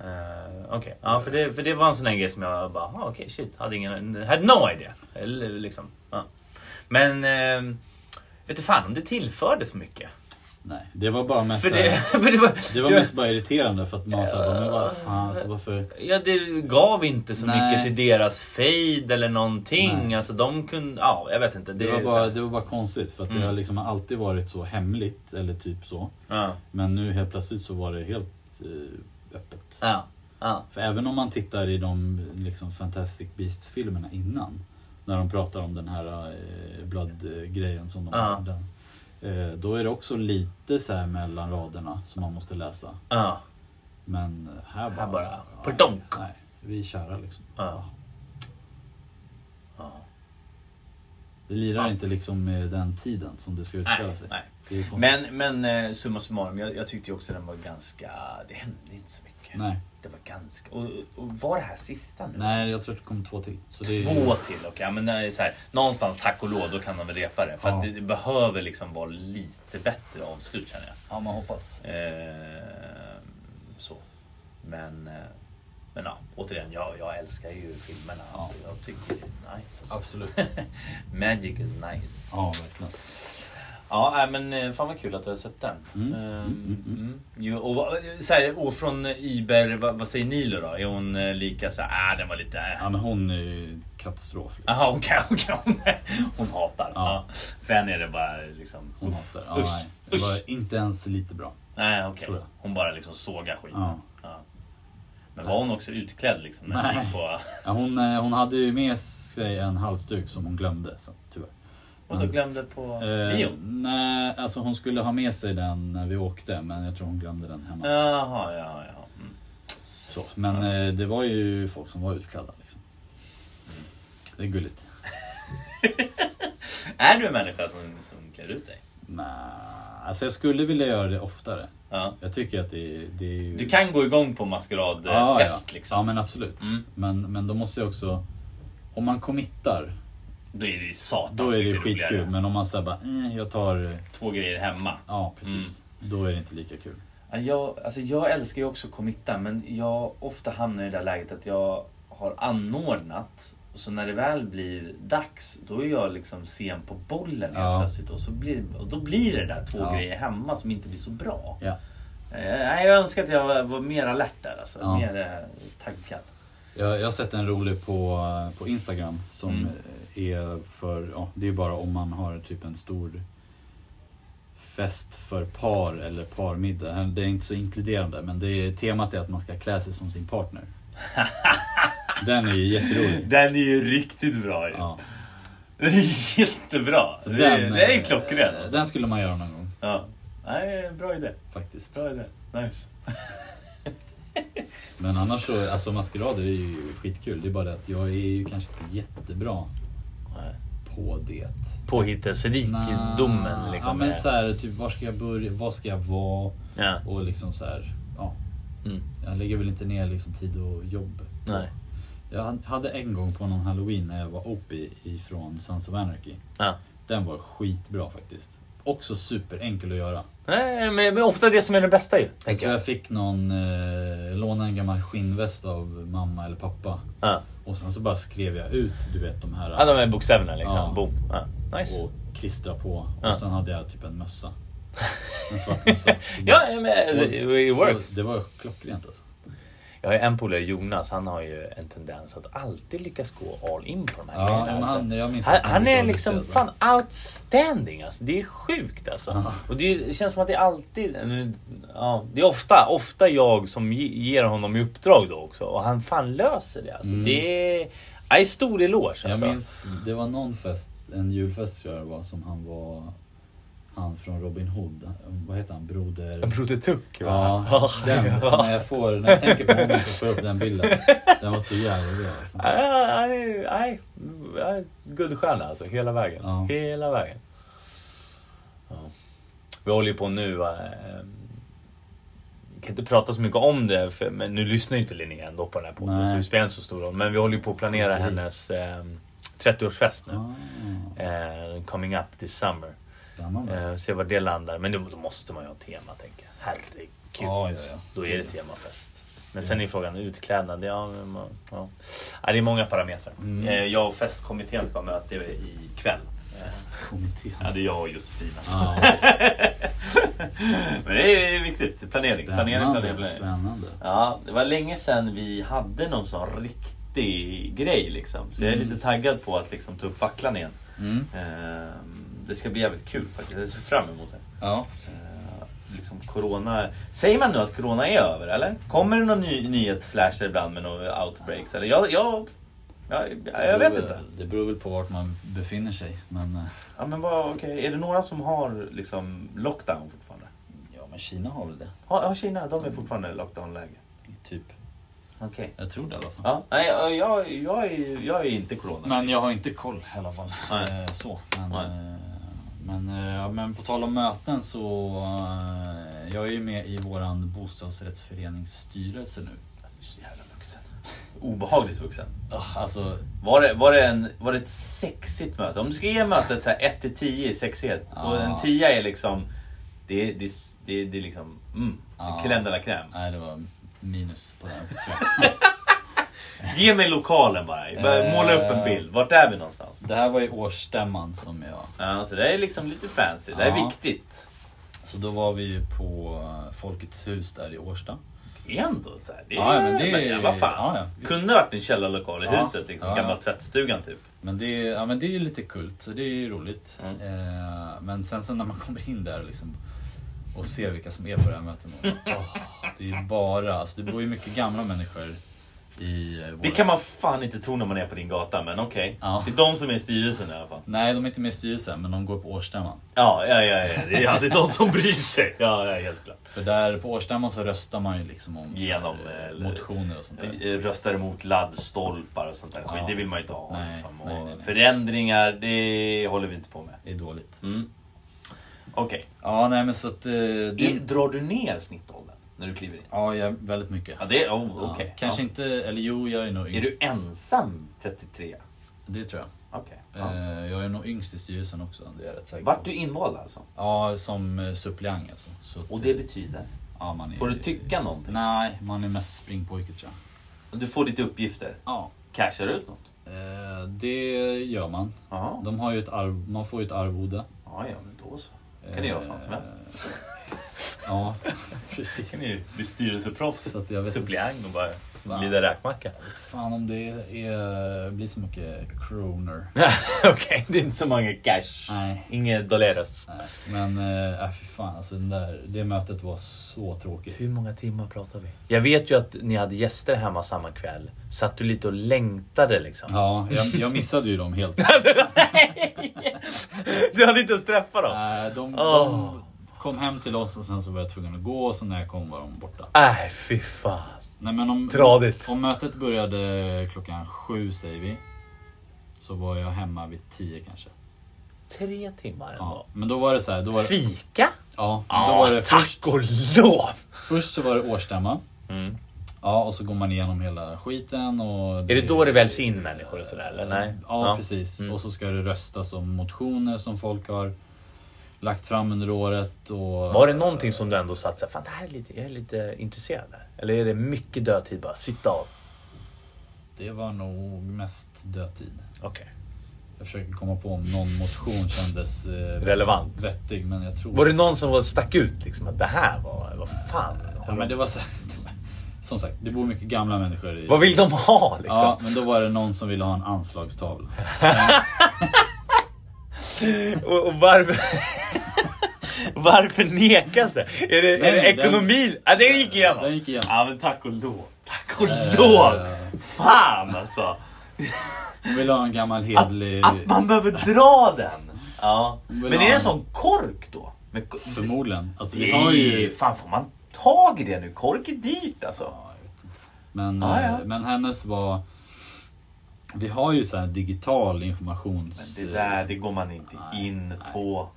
S1: Eh, okej. Ja, för, det, för det var en sån här grej som jag bara, ah, okej, shit. Hade ingen, had no idea. Eller, liksom. ja. Men, eh, vet du fan om det tillförde så mycket.
S2: Nej, det var bara mest,
S1: För
S2: såhär-
S1: det, för det var,
S2: det var
S1: det-
S2: mest bara irriterande för att man såhär, men vad fan alltså varför?
S1: Ja, det gav inte så
S2: Nej.
S1: mycket till deras fade eller någonting.
S2: Nej.
S1: Alltså de kunde, ja jag vet inte. Det,
S2: Det
S1: är
S2: var,
S1: så
S2: bara,
S1: här.
S2: det var bara konstigt för att det
S1: Mm.
S2: har liksom alltid varit så hemligt eller typ så.
S1: Ja,
S2: Men nu helt plötsligt så var det helt eh, öppet.
S1: ja, ja.
S2: För även om man tittar i de liksom, Fantastic Beasts-filmerna innan. När de pratar om den här eh, blödgrejen som de
S1: Ja.
S2: hade. Eh, då är det också lite så här mellan raderna som man måste läsa.
S1: ja.
S2: Men här bara...
S1: Här bara,
S2: nej,
S1: pardonk.
S2: Nej, vi är kära liksom.
S1: Ja. Ja.
S2: Det lirar
S1: Ja.
S2: inte liksom med den tiden som det ska utspela
S1: Nej,
S2: sig.
S1: nej.
S2: Det är ju konstigt.
S1: Men, men eh, summa summarum, jag, jag tyckte ju också den var ganska... Det hände inte så mycket.
S2: Nej.
S1: Det var ganska... Och, och var det här sista nu?
S2: Nej, jag tror att det kommer två till. Så det är ju-
S1: Två till, okej. Ja, men det är så här, någonstans, tack och lov, då kan de väl repa det. För att
S2: Ja.
S1: det, det behöver liksom vara lite bättre avslut känner jag.
S3: Ja, man hoppas.
S1: Eh, så. Men, eh, men ja, återigen, jag, jag älskar ju filmerna.
S2: Ja.
S1: Alltså, jag tycker det är nice. Alltså.
S3: Absolut.
S1: Magic is nice.
S2: Ja, verkligen.
S1: Ja, nej, men eh, fan vad kul att du har sett den.
S2: Mm,
S1: Ehm,
S2: mm, mm,
S1: mm. Jo, och, vad- så här, och från Iber, vad, vad säger Nilo då? Är hon eh, lika så här, ah, den var lite...
S2: Ja, men hon är ju katastrof. Liksom.
S1: Jaha, okej, okej. Hon, hon hatar. Ja.
S2: Ja.
S1: För henne är det bara liksom...
S2: Hon
S1: uff.
S2: hatar. Ja,
S1: usch,
S2: nej. Det
S1: usch.
S2: var inte ens lite bra.
S1: Nej, okej.
S2: Tror jag.
S1: Hon bara liksom sågar skiten.
S2: Ja.
S1: Ja. Men var hon också utklädd liksom? När hon
S2: Nej.
S1: gick på...
S2: Ja, hon, eh, hon hade ju med sig en halsduk som hon glömde, så, tyvärr.
S1: Och då glömde på
S2: Eh,
S1: bio?
S2: nej, alltså hon skulle ha med sig den när vi åkte men jag tror hon glömde den hemma.
S1: Eh. Jaha, ja, ja. Mm.
S2: Så, men eh, det var ju folk som var utklädda. Liksom. Det är gulligt.
S1: Är du en människa som, som klär ut dig?
S2: Nej, alltså jag skulle vilja göra det oftare.
S1: Ja.
S2: Jag tycker att det, det är ju...
S1: Du kan gå igång på maskeradfest
S2: Ja,
S1: fest
S2: ja.
S1: liksom.
S2: Ja men absolut.
S1: Mm.
S2: Men, men då måste jag också... Om man committar,
S1: Då är det ju satans
S2: då är det
S1: mycket roligare.
S2: skitkul. Men om man säger bara, eh, jag tar... eh,
S1: Två grejer hemma.
S2: Ja, precis.
S1: Mm.
S2: Då är det inte lika kul.
S1: Ja, Jag, alltså jag älskar ju också committa men jag ofta hamnar i det där läget att jag har anordnat och så när det väl blir dags då är jag liksom sen på bollen helt
S2: Ja.
S1: plötsligt och, så blir, och då blir det där två
S2: Ja.
S1: grejer hemma som inte blir så bra.
S2: Ja.
S1: Eh, nej, jag önskar att jag var, var mer alert där alltså.
S2: Ja.
S1: Mer eh, taggad.
S2: Jag, jag har sett en rolig på, på Instagram som
S1: Mm.
S2: är för, ja, det är bara om man har typ en stor fest för par eller parmiddag. Det är inte så inkluderande men det är, temat är att man ska klä sig som sin partner. Den är ju jätterolig.
S1: Den är ju riktigt bra ju.
S2: Ja.
S1: Den är jättebra. Den, det, är-
S2: Den,
S1: det är
S2: eh,
S1: klockren. Alltså.
S2: Den skulle man göra någon gång
S1: Ja. Nej, bra idé.
S2: faktiskt.
S1: Bra idé. Nice.
S2: Men annars så, alltså maskerader är ju skitkul. Det är bara det att jag är ju kanske inte jättebra på det.
S1: Påhittarrikedomen liksom.
S2: Ja men
S1: är-
S2: så här, typ var ska jag börja, vad ska jag vara
S1: Ja.
S2: och liksom så här, ja.
S1: Mm.
S2: Jag lägger väl inte ner liksom tid och jobb.
S1: Nej.
S2: Jag hade en gång på någon halloween när jag var Opie ifrån Sons of Anarchy.
S1: Ja.
S2: Den var skitbra faktiskt. Också superenkel att göra.
S1: Nej, men, men ofta det som är det bästa ju.
S2: Jag
S1: Tänker
S2: tror
S1: jag.
S2: jag fick någon, eh, låna en gammal skinnväst av mamma eller pappa.
S1: Ja.
S2: Och sen så bara skrev jag ut, du vet de här.
S1: Ja, de här bokstäverna liksom.
S2: Ja.
S1: Boom. Ja. Nice.
S2: och klistra på. Och
S1: Ja.
S2: sen hade jag typ en mössa. En svart mössa.
S1: Ja, men eh, it
S2: Så
S1: works.
S2: Det var klockrent alltså.
S1: Jag har ju en polare, Jonas, han har ju en tendens att alltid lyckas gå all in på de här
S2: Ja,
S1: grejerna.
S2: men
S1: alltså.
S2: han- jag minns
S1: han,
S2: att han
S1: han
S2: brukar
S1: är
S2: vara
S1: liksom
S2: duktig, alltså.
S1: fan outstanding alltså. Det är sjukt alltså.
S2: Ja.
S1: Och det känns som att det är alltid, nu- ja, det är ofta, ofta jag som ge- ger honom i uppdrag då också. Och han fan löser det alltså.
S2: Mm.
S1: Det är, nej, stor eloge
S2: Jag
S1: alltså.
S2: minns, det var någon fest, en julfest tror jag det var, som han var, han från Robin Hood, vad heter han, Broder...
S1: Broder Tuck
S2: Ja, den, när jag får, när jag tänker på honom så får jag upp den bilden. Den var så jävla bra alltså.
S1: Nej, nej, nej. Guldstjärna alltså, hela vägen.
S2: Ja.
S1: Hela vägen. Ja. Vi håller ju på nu. va, eh, Vi kan inte prata så mycket om det, för, men nu lyssnar ju inte Linnea ändå på den här podden.
S2: Nej.
S1: Så det spelar inte så stor roll. Men vi håller ju på att planera
S2: Okej.
S1: hennes eh, 30-årsfest nu.
S2: Ah,
S1: Eh, coming up this summer.
S2: spännande.
S1: Eh, se var det landar. Men då, då måste man ju ha tema tänker jag. Herregud.
S2: Ja, ja, ja.
S1: Då är det temafest. Men sen är frågan utklädnad. Ja, men man- ja. Ja, det är många parametrar.
S2: Mm.
S1: Eh, Jag och festkommittén ska ha möte ikväll. Fest.
S2: Festkommittén.
S1: Ja, det är jag och Josefin alltså.
S2: Ja,
S1: Men det är viktigt. Planering, planering, planering.
S2: spännande.
S1: planering.
S2: Spännande.
S1: Ja, det var länge sedan vi hade någon sån riktig grej liksom. Så jag är
S2: Mm.
S1: lite taggad på att liksom ta upp facklan igen.
S2: Mm,
S1: Ehm, Det ska bli jävligt kul faktiskt. Jag ser fram emot det.
S2: ja.
S1: Eh, liksom corona... Säger man nu att corona är över eller? Kommer det någon ny, nyhetsflash ibland med några outbreaks? Eller? Jag, jag, jag, jag vet
S2: Det beror
S1: inte.
S2: väl- Det beror väl på vart man befinner sig. Men, eh,
S1: Ja, men vad, okej. Är det några som har liksom lockdown fortfarande?
S2: ja, men Kina har väl det.
S1: Har, har Kina, de är fortfarande i lockdown-läge.
S2: Typ.
S1: Okej.
S2: Jag tror det i alla fall.
S1: Ja, nej, jag, jag, jag, är, jag är inte corona.
S2: Men jag har inte koll i alla fall.
S1: Nej.
S2: Eh, Så. Men,
S1: Nej.
S2: eh, men, eh, ja, men på tal om möten så... eh, Jag är ju med i våran bostadsrättsförenings styrelse nu.
S1: Alltså, du är så jävla vuxen. Obehagligt vuxen.
S2: Ah, Alltså,
S1: Var det, var, det en, var det ett sexigt möte? Om du ska ge mötet så här 1 till 10 i sexighet
S2: Ja.
S1: och en 10 är liksom... Det är det, är- det, är- det är liksom... Mm,
S2: Ja.
S1: crème de la crème.
S2: nej det var minus på den. tror jag.
S1: Ge mig lokalen bara. bara
S2: Eh.
S1: Måla upp en bild. Vart är vi någonstans?
S2: Det här var ju årsstämman som jag...
S1: Ja, så det är liksom lite fancy. Det är
S2: Ja.
S1: viktigt.
S2: Så då var vi ju på eh, Folkets hus där i Årsta.
S1: Det är ändå så här. Det är,
S2: Ja, men det är-
S1: men, ja, vad fan.
S2: ja, ja, visst.
S1: Kunde varit en källarlokal i
S2: Ja.
S1: huset. Liksom,
S2: Ja, ja.
S1: Gamla tvättstugan typ.
S2: Men det, är- ja, men det är ju lite kult, så det är ju roligt.
S1: Mm.
S2: Eh, men sen så när man kommer in där liksom, och ser vilka som är på det här mötet. Man, bara, åh, det är ju bara, alltså det bor ju mycket gamla människor i eh, våra...
S1: Det kan man fan inte tro när man är på din gata, men okej.
S2: Ja.
S1: Det är de som är i styrelsen i alla fall.
S2: Nej, de är inte med i styrelsen, men de går på årsstämman.
S1: Ja, ja, ja, ja. det är alltid de som bryr sig. Ja, ja helt klart.
S2: För där på årsstämman så röstar man ju liksom om så här,
S1: Genom,
S2: eh,
S1: eller-
S2: motioner och sånt där.
S1: eh, Röstar emot laddstolpar och sånt där skit.
S2: Ja.
S1: Det vill man ju inte ha.
S2: Nej,
S1: liksom. och
S2: nej, nej, nej.
S1: Förändringar, det håller vi inte på med.
S2: Det är dåligt.
S1: Mm. Okej.
S2: Ja, nej men så att... eh,
S1: I-
S2: Det,
S1: Drar du ner snittåldern när du kliver in?
S2: ja, jag, väldigt mycket.
S1: Ja, det... Oh,
S2: Ja,
S1: okej.
S2: Kanske
S1: ja.
S2: inte, eller jo, jag är nog
S1: Är du
S2: yngst.
S1: ensam 33?
S2: Det tror jag.
S1: Okej. Ja.
S2: Eh, Jag är nog yngst i styrelsen också, det är jag rätt säker
S1: Vart
S2: på.
S1: du invald alltså?
S2: Ja, som eh, suppleant alltså. Så att,
S1: Och det betyder?
S2: ja, man är,
S1: Får du tycka någonting?
S2: Nej, man är mest springpojke tror jag.
S1: Du får lite uppgifter.
S2: Ja.
S1: Cashar du ut något?
S2: Eh, Det gör man.
S1: Jaha.
S2: De har ju ett arv, man får ju ett arvode.
S1: Ja, ja, men då så. kan ni göra vad fan som helst.
S2: Eh, Ja,
S1: Kan
S2: precis.
S1: ni bli styrelseproffs?
S2: Så att jag vet inte
S1: Suppleant och bara
S2: Va?
S1: glida räkmacka.
S2: fan om det är, blir så mycket kronor.
S1: Okej, det är inte så många cash.
S2: Nej.
S1: Inget dollares.
S2: nej. Men äh, fy fan alltså den där, det mötet var så tråkigt.
S1: Hur många timmar pratar vi? Jag vet ju att ni hade gäster hemma samma kväll. Satt du lite och längtade liksom?
S2: Ja, jag, jag missade ju dem helt.
S1: Du hade inte ens träffat dem?
S2: Nej, Eh, de,
S1: Åh.
S2: de kom hem till oss och sen så var jag tvungen att gå och så när jag kom var de borta.
S1: Nej, Äh, fy fan.
S2: Nej, men om,
S1: Tradigt.
S2: om mötet började klockan sju säger vi. Så var jag hemma vid tio kanske.
S1: Tre timmar ändå.
S2: Ja. Men då var det så här. Då var, det-
S1: Fika?
S2: ja, men då
S1: Ja,
S2: var det
S1: tack
S2: först,
S1: och lov!
S2: först så var det årsstämma.
S1: Mm.
S2: Ja, och så går man igenom hela skiten. Och
S1: Är det då det väljs in människor och sådär eller? Nej?
S2: Ja, precis.
S1: Mm.
S2: Och så ska det röstas om motioner som folk har lagt fram under året. Och,
S1: Var det någonting som du ändå satt såhär, fan det här är lite, jag är lite intresserad där. Eller är det mycket dödtid bara, sitta av?
S2: Det var nog mest dödtid.
S1: Okej.
S2: Jag försöker komma på om någon motion kändes eh,
S1: Relevant.
S2: vettig men jag tror...
S1: Var det någon som var, stack ut liksom att det här var, vad fan?
S2: Ja, men det var så... Som sagt, det bor mycket gamla människor i...
S1: Vad vill de ha liksom?
S2: Ja, men då var det någon som ville ha en anslagstavla.
S1: Och, och varför... varför nekas det? Är det, är det
S2: Nej, den-
S1: ekonomi? Ja, det gick igenom.
S2: Den Eh. gick igenom.
S1: Ja men tack och lov. Tack och lov! Fan alltså!
S2: De ville ha en gammal hederlig...
S1: Att man behöver dra den! Ja.
S2: Vill
S1: Men är
S2: ha
S1: det en
S2: en-
S1: sån kork då? Med, ko-
S2: Förmodligen. Alltså, vi har
S1: Nej,
S2: ju...
S1: fan får man tag i det nu? Kork är dyrt alltså.
S2: Ja, jag vet inte. Men,
S1: Ja, ja.
S2: eh, men hennes var... Vi har ju så här digital informations...
S1: Men det där, det går man inte
S2: Nej,
S1: in
S2: nej.
S1: på.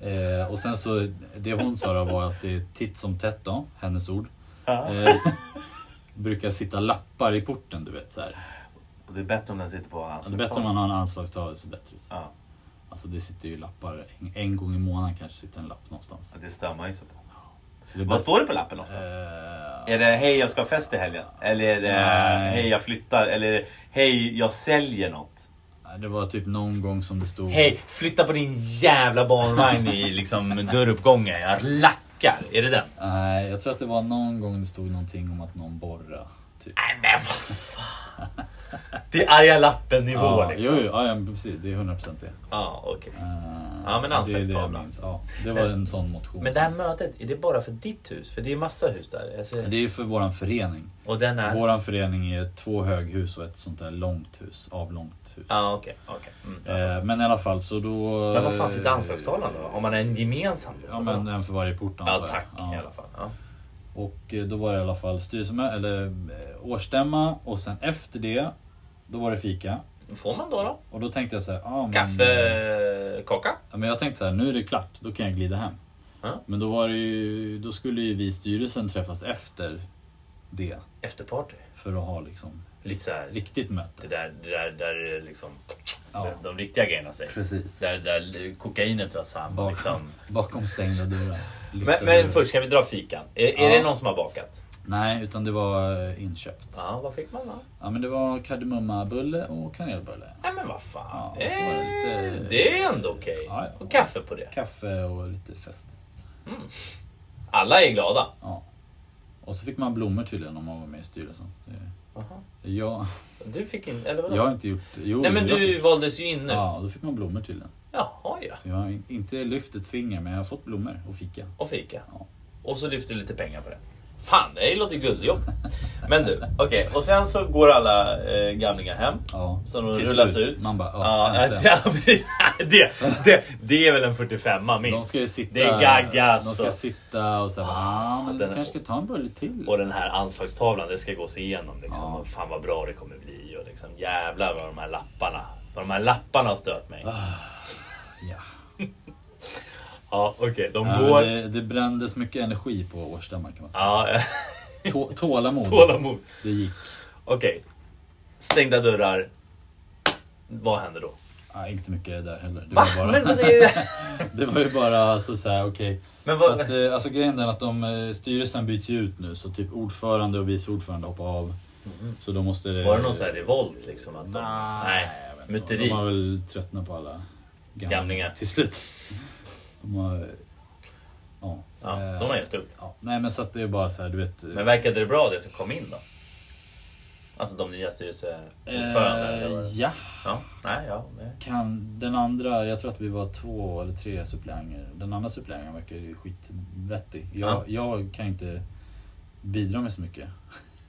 S2: Eh, och sen så, det hon sa då var att det är titt som tätt då, hennes ord.
S1: Ja.
S2: Eh, brukar sitta lappar i porten du vet. Så här. Alltså,
S1: Och det är bättre om den sitter på hans
S2: Det är bättre om man har en anslagstavla så bättre ut.
S1: Ja,
S2: Alltså det sitter ju lappar, en, en gång i månaden kanske sitter en lapp någonstans.
S1: det stör man ju så på.
S2: Så det är
S1: Vad
S2: bäst-
S1: står det på lappen ofta?
S2: Eh,
S1: Är det hej jag ska ha fest i helgen? Eller är det
S2: Nej.
S1: hej jag flyttar? Eller är det hej jag säljer något?
S2: det var typ någon gång som det stod...
S1: Hej flytta på din jävla barnvagn i liksom dörruppgången. Jag lackar. Är det den?
S2: Nej, jag tror att det var någon gång det stod någonting om att någon borra. Typ.
S1: Nej men vad fan. Det är arga lappen nivå
S2: ja,
S1: liksom.
S2: jo, jo, ja, ja, men precis. Det är 100% det.
S1: Ja, okej.
S2: Eh,
S1: Ja, men
S2: det är det jag
S1: anslagstavlan.
S2: minns. Ja, det var en sån motion.
S1: Men det här mötet, är det bara för ditt hus? För det är massa hus där. Jag ser-
S2: Det är ju för våran förening.
S1: Och den är?
S2: Våran förening är två höghus och ett sånt där långt hus, avlångt hus.
S1: Ja, okej. okej. Mm.
S2: Eh, men i alla fall så då...
S1: Men vad fan sitter anslagstavlan då? Om man är en gemensam?
S2: Ja men en för varje port
S1: Ja,
S2: antar jag.
S1: tack i alla fall. Ja.
S2: Och eh, då var det i alla fall styrelsemöte, eller eh, årsstämma och sen efter det då var det fika.
S1: Får man då då?
S2: Och då tänkte jag så här,
S1: Mm.
S2: ah, men,
S1: Kaffe, kaka?
S2: Ja, men jag tänkte så här, nu är det klart, då kan jag glida hem.
S1: Ja.
S2: Men då var det ju, då skulle ju vi i styrelsen träffas efter det
S1: Efterparty?
S2: för att ha liksom
S1: Lite så här,
S2: riktigt möte.
S1: det där, det där, där är det liksom
S2: Ja.
S1: de riktiga grejerna sägs.
S2: Precis.
S1: Där, där kokainet dras fram.
S2: Bak-
S1: Liksom.
S2: Bakom stängda dörrar.
S1: Men, men först kan vi dra fikan. Är, är
S2: Ja.
S1: det någon som har bakat?
S2: Nej, utan det var eh, inköpt.
S1: Ja, vad fick man då?
S2: Ja, men det var kardemummabulle och kanelbulle.
S1: Nej men vad fan.
S2: Ja, och så var det
S1: det,
S2: lite-
S1: det är ändå okej.
S2: Ja, ja.
S1: Och kaffe på det.
S2: Kaffe och lite fest.
S1: Alla är glada.
S2: Ja. Och så fick man blommor tydligen om man var med i styrelsen. Det- Jag,
S1: Du fick in, eller vadå?
S2: jag har inte gjort... Jo,
S1: Nej men
S2: jag
S1: du
S2: Fick,
S1: valdes ju in nu.
S2: ja, då fick man blommor tydligen.
S1: Jaha ja.
S2: Så jag har in- inte lyft ett finger men jag har fått blommor och fika.
S1: Och fika.
S2: Ja.
S1: Och så lyfter du lite pengar på det. Fan, det låter guldjobb. Men du, okej. Och sen så går alla eh, gamlingar hem.
S2: Ja.
S1: Så de
S2: Till
S1: rullas
S2: slut.
S1: ut.
S2: Man bara, ja,
S1: ja,
S2: äntligen.
S1: ja, precis. det, det, det är väl en 45a minst.
S2: De ska ju sitta,
S1: det är gaggas.
S2: de ska
S1: och-
S2: sitta och säga ah, men du
S1: den-
S2: kanske ska ta en bulle till.
S1: Och den här anslagstavlan, det ska gås igenom. Liksom.
S2: Ja.
S1: Och fan vad bra det kommer bli. Och liksom, jävlar vad de här lapparna, vad de här lapparna har stört mig.
S2: Ah. Ja.
S1: Ja, okej, de
S2: Ja,
S1: går...
S2: det, det brändes mycket energi på årsstämman kan man säga.
S1: Ja,
S2: Tå, tålamod.
S1: tålamod.
S2: Det gick.
S1: Okej. Stängda dörrar. Vad händer då?
S2: Ja, inte mycket där heller. Det
S1: Va?
S2: var, bara,
S1: Men, men, det är-
S2: det var ju bara alltså, så här, okej.
S1: men
S2: För
S1: vad...
S2: att, eh, alltså grejen är att de, eh, styrelsen byts ju ut nu så typ ordförande och vice ordförande hoppar av. Så då måste det...
S1: Mm-hmm. Var det någon sån här revolt liksom? Att de, nej.
S2: jag vet inte.
S1: muteri?
S2: De har väl tröttnat på alla gamlingar,
S1: Gamlingar.
S2: till slut. De har... eh, Ja.
S1: Ja,
S2: Eh,
S1: de har gett upp.
S2: ja. Nej men så att det är bara så här, du vet. eh,
S1: Men verkade det bra det som kom in då? Alltså de nya styrelseordförandena? eller vad det-
S2: eh, ja,
S1: Ja, nej, ja. nej.
S2: kan den andra, jag tror att vi var två eller tre suppleanter. Den andra suppleanten verkar ju skitvettig. Jag,
S1: Ja.
S2: jag kan ju inte bidra med så mycket.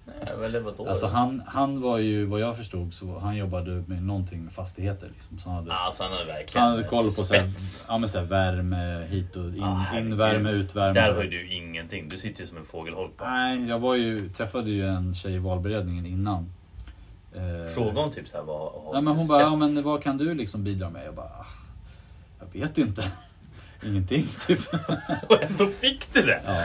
S1: Nej, Eller vadå?
S2: Alltså han, han var ju, vad jag förstod, så han jobbade med någonting med fastigheter. Liksom. Så han, hade,
S1: Alltså han hade verkligen
S2: han hade koll på så här,
S1: spets.
S2: ja, men så här, värme hit och in,
S1: Ah, herregud.
S2: invärme, utvärme.
S1: Där har ju du ingenting. Du sitter ju som en fågelholk bara.
S2: Nej, jag var ju, träffade ju en tjej i valberedningen innan. Eh,
S1: Fråga om typ såhär vad har du
S2: Nej, men
S1: för
S2: hon bara, ja,
S1: spets?
S2: men vad kan du liksom bidra med? Jag bara, "Ah, jag vet inte. Ingenting typ.
S1: Och ändå fick du det!
S2: Ja,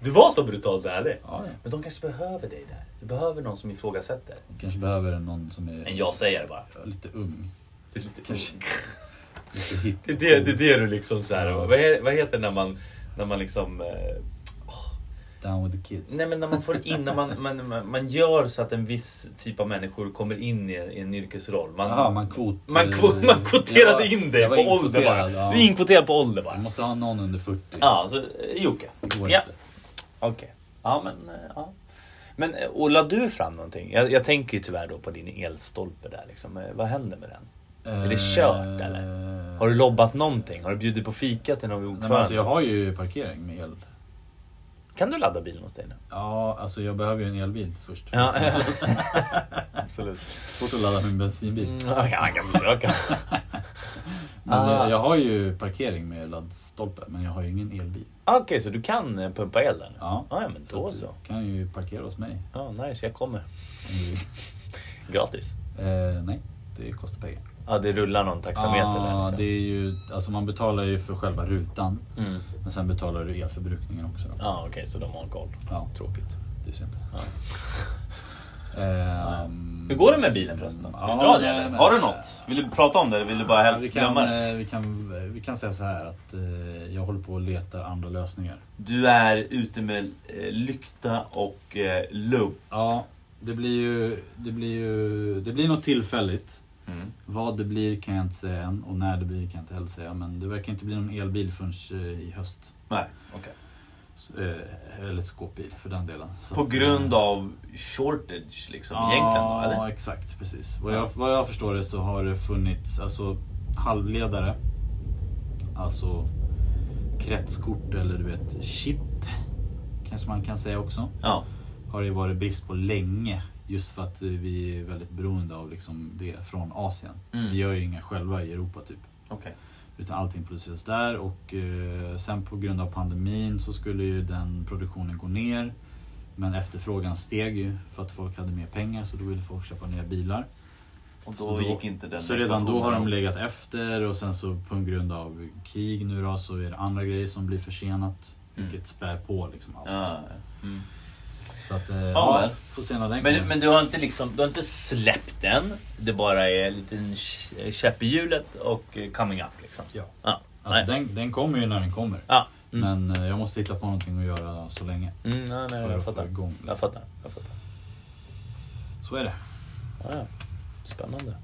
S1: Du var så brutalt ärlig.
S2: ja, ja.
S1: Men de kanske behöver dig där. Du behöver någon som ifrågasätter.
S2: Kanske behöver någon som
S1: En
S2: är
S1: jag-sägare bara.
S2: lite ung.
S1: Det är lite
S2: Kanske. Lite hipp.
S1: Det är det, det, är det du liksom så här,
S2: Ja.
S1: vad, he- vad heter det när man, när man liksom... Eh,
S2: Down with the kids.
S1: nej men när man får in, när man, man, man, man gör så att en viss typ av människor kommer in i, i en yrkesroll. Man, Mm.
S2: Jaha, man kvot...
S1: man, kvo- man kvoterade in dig
S2: jag
S1: på
S2: var
S1: ålder
S2: inkvoterad,
S1: bara.
S2: ja.
S1: Du är inkvoterad Mm. på ålder bara.
S2: Man måste ha någon under 40.
S1: Ja, så eh, Jocke.
S2: Det går
S1: Ja.
S2: inte.
S1: Okej. Ja men, eh, ja. Men eh, och la du fram någonting? Jag, jag tänker ju tyvärr då på din elstolpe där liksom. Eh, Vad händer med den? Är det kört, eller?
S2: Eh,
S1: Har du lobbat någonting? Har du bjudit på fika till någon
S2: Nej, men alltså,
S1: ordförande?
S2: jag har ju parkering med el.
S1: Kan du ladda bilen hos dig nu?
S2: Ja, alltså jag behöver ju en elbil först.
S1: Ja, absolut.
S2: Svårt att ladda min bensinbil.
S1: Mm, jag kan- jag kan försöka.
S2: Men
S1: Ah.
S2: eh, jag har ju parkering med laddstolpe, men jag har ju ingen elbil.
S1: Okej, så du kan eh, pumpa el där nu?
S2: Ja.
S1: Ja, ja, men då
S2: att du
S1: så.
S2: kan ju parkera hos mig.
S1: Ja, nice, jag kommer.
S2: om du vill.
S1: Gratis.
S2: eh, nej, det kostar pengar.
S1: Ja, det rullar någon taxameter
S2: Ja,
S1: där. Liksom.
S2: det är ju, alltså man betalar ju för själva rutan,
S1: Mm.
S2: men sen betalar du elförbrukningen också. Då.
S1: Ja, okej, så de har koll.
S2: Ja,
S1: Tråkigt.
S2: det är synd.
S1: Ja.
S2: Ehm,
S1: Hur går det med bilen förresten? Ska
S2: Ja,
S1: vi dra det
S2: nej,
S1: eller?
S2: men-
S1: Har du något? Vill du prata om det eller vill du bara helst
S2: vi, kan,
S1: glömma det?
S2: eh, vi, kan, vi kan säga så här att eh, jag håller på och letar andra lösningar.
S1: Du är ute med eh, lykta och eh, lubb.
S2: Ja, det blir ju, det blir ju det blir något tillfälligt.
S1: Mm.
S2: Vad det blir kan jag inte säga än och när det blir kan jag inte heller säga. Men det verkar inte bli någon elbil förrän eh, i höst.
S1: Nej, okej.
S2: S- eh, Eller skåpbil för den delen. Så
S1: På
S2: att, eh,
S1: grund av shortage liksom
S2: ja,
S1: egentligen då, eller?
S2: Ja, exakt. Precis. Vad jag, vad jag förstår det så har det funnits alltså, halvledare. Alltså kretskort eller du vet chip. Kanske man kan säga också.
S1: Ja.
S2: Har det varit brist på länge. Just för att eh, vi är väldigt beroende av liksom det från Asien.
S1: Mm.
S2: Vi gör ju inga själva i Europa typ.
S1: Okej.
S2: Utan allting produceras där och eh, sen på grund av pandemin så skulle ju den produktionen gå ner. Men efterfrågan steg ju för att folk hade mer pengar så då ville folk köpa nya bilar.
S4: Och
S2: Så
S4: då,
S2: då-
S4: gick inte den
S2: Så redan då har
S4: ekvationen
S2: de
S4: ihop.
S2: legat efter och sen så på grund av krig nu då så är det andra grejer som blir försenat.
S4: Mm.
S2: Vilket spär på liksom allt.
S4: Ja, mm.
S2: Så att, eh,
S4: Ja,
S2: ja,
S4: men.
S2: får se när den
S1: Men,
S2: kommer.
S1: men du har inte liksom, du har inte släppt den. Det bara är en liten k- käpp i hjulet och eh, coming up liksom.
S2: Ja.
S1: Ja.
S2: Alltså, den, den kommer ju när den kommer.
S1: Ja. Mm.
S2: Men eh, jag måste hitta på någonting att göra så länge.
S1: Mm, nej, nej,
S2: För
S1: jag
S2: att få
S1: fattar.
S2: igång. liksom.
S1: Jag fattar. Jag fattar.
S2: Så är det.
S1: Ja, ja. Spännande.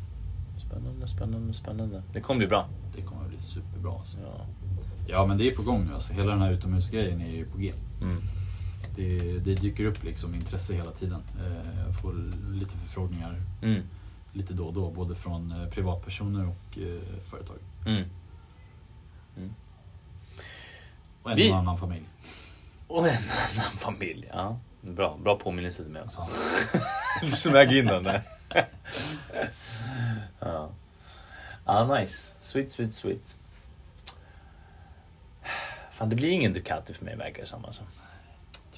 S1: Spännande, spännande, spännande. Det kommer bli bra.
S2: Det kommer bli superbra. Alltså.
S1: Ja.
S2: Ja men det är på gång nu alltså. Hela den här utomhusgrejen är ju på G.
S1: Mm.
S2: Det, det dyker upp liksom intresse hela tiden. Eh, Jag får lite förfrågningar
S1: Mm.
S2: lite då och då. Både från eh, privatpersoner och eh, företag.
S1: Mm.
S2: Och en
S1: Vi-
S2: och annan familj.
S1: Och en annan familj. Ja. Bra, bra påminnelse till mig också.
S2: Ja.
S1: Smög in den där. ja. ja, nice. Sweet, sweet, sweet. Fan, det blir ingen Ducati för mig verkar det som. Alltså.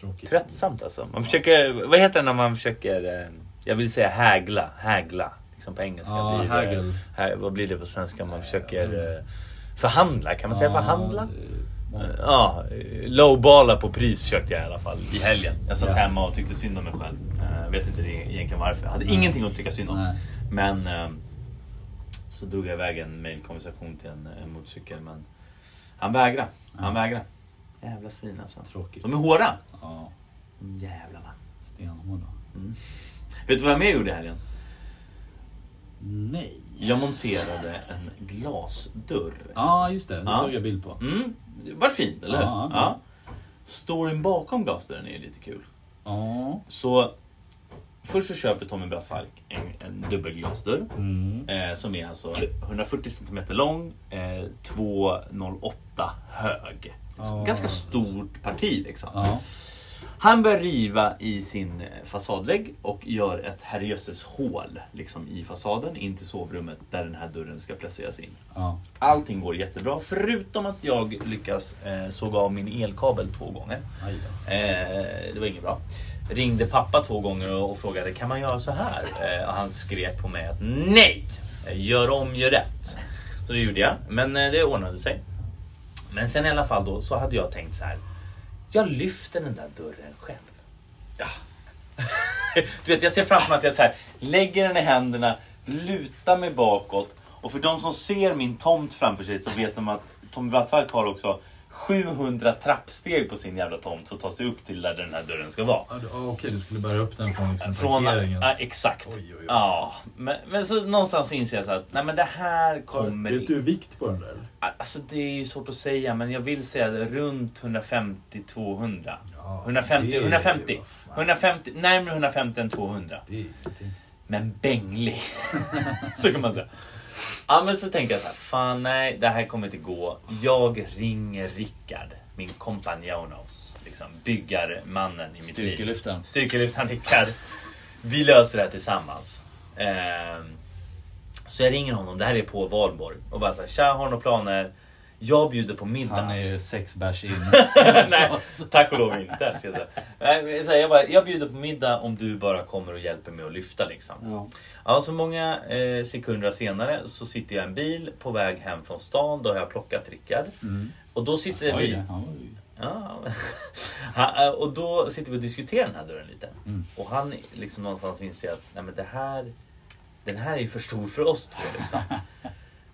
S2: Tråkigt.
S1: Tröttsamt alltså. Man försöker, vad heter det när man försöker, eh, jag vill säga hägla, hägla. Liksom på engelska.
S2: Ja,
S1: blir det-
S2: hägel.
S1: hä- vad blir det på svenska? Man
S2: Nej,
S1: försöker eh, förhandla, kan man säga förhandla?
S2: Ja,
S1: Eh,
S2: det-
S1: Ja, eh, lowballa på pris försökte jag i alla fall i helgen. Jag satt
S2: Ja.
S1: hemma och tyckte synd om mig själv. Eh, Jag vet inte det egentligen varför. Jag hade
S2: Nej.
S1: ingenting att tycka synd om.
S2: Mm. Nej.
S1: Men eh, så drog jag iväg en mailkonversation till en, en motorcykel. Men han vägrade. Han
S2: Ja.
S1: vägrade. Jävla svin alltså.
S2: Tråkigt.
S1: De är hårda.
S2: Ja,
S1: Jävlarna.
S2: stenhård då.
S1: Vet du vad jag mer gjorde i helgen?
S2: Nej.
S1: Jag monterade en glasdörr.
S2: Ja just det, det
S1: Ja.
S2: såg jag bild på.
S1: Mm, det var fint, eller hur?
S2: Ja.
S1: Ja. Storyn bakom glasdörren är lite kul.
S2: Ja.
S1: Så först så köper Tommy Brattfalk en, en dubbelglasdörr.
S2: Mm.
S1: Eh, som är alltså 140 cm lång, eh, 2,08 hög. Så
S2: Ja.
S1: Ganska stort parti liksom.
S2: Ja.
S1: Han börjar riva i sin eh, fasadvägg och gör ett herrejösses hål liksom, i fasaden in till sovrummet där den här dörren ska placeras in.
S2: Ja.
S1: Allting går jättebra förutom att jag lyckas eh, såga av min elkabel två gånger.
S2: Aj då.
S1: Eh, det var inget bra. Ringde pappa två gånger och, och frågade kan man göra så här? Eh, och han skrek på mig att nej! Gör om, gör rätt. Så det gjorde jag, men eh, det ordnade sig. Men sen i alla fall då så hade jag tänkt så här. Jag lyfter den där dörren själv. Ja. Du vet jag ser framför mig att jag så här, lägger den i händerna, lutar mig bakåt och för de som ser min tomt framför sig så vet de att Tommy Brattfalk har också 700 trappsteg på sin jävla tomt för att ta sig upp till där den här dörren ska vara.
S2: Ja, du- ja, Okej, du skulle bära upp den från, liksom,
S1: Från,
S2: parkeringen.
S1: ja, exakt.
S2: Oj, oj, oj.
S1: Ja, men, men så någonstans så inser jag så här att nej men det här kommer
S2: Vet du vikt på den där eller?
S1: Alltså det är ju svårt att säga men jag vill säga det, runt 150-200.
S2: Ja,
S1: 150,
S2: det är-
S1: 150,
S2: vad fan.
S1: 150, närmare 150 än 200.
S2: Det är ingenting.
S1: Men bänglig. så kan man säga. Ja men så tänkte jag så här, fan nej det här kommer inte gå. Jag ringer Rickard, min kompanjonos. Liksom byggarmannen i mitt liv.
S2: Styrkelyften.
S1: Styrkelyftaren Rickard. Vi löser det här tillsammans. Ehm, så jag ringer honom, det här är på Valborg. Och bara såhär, tja har du några planer? Jag bjuder på middag.
S2: Han är sex bärs in.
S1: Nej, tack och lov inte. Ska jag, säga. Nej, men så här, jag, bara, jag bjuder på middag om du bara kommer och hjälper mig att lyfta liksom.
S2: Ja.
S1: Ja, så många eh, sekunder senare så sitter jag i en bil på väg hem från stan. Då har jag plockat Rickard.
S2: Mm.
S1: Och då
S2: Jag
S1: sitter
S2: sa ju det.
S1: vi...
S2: Han var ju-
S1: Ja, Ha- eh, och då sitter vi och diskuterar den här dörren lite.
S2: Mm.
S1: Och han liksom någonstans inser att Nej, men det här, den här är ju för stor för oss två. Liksom.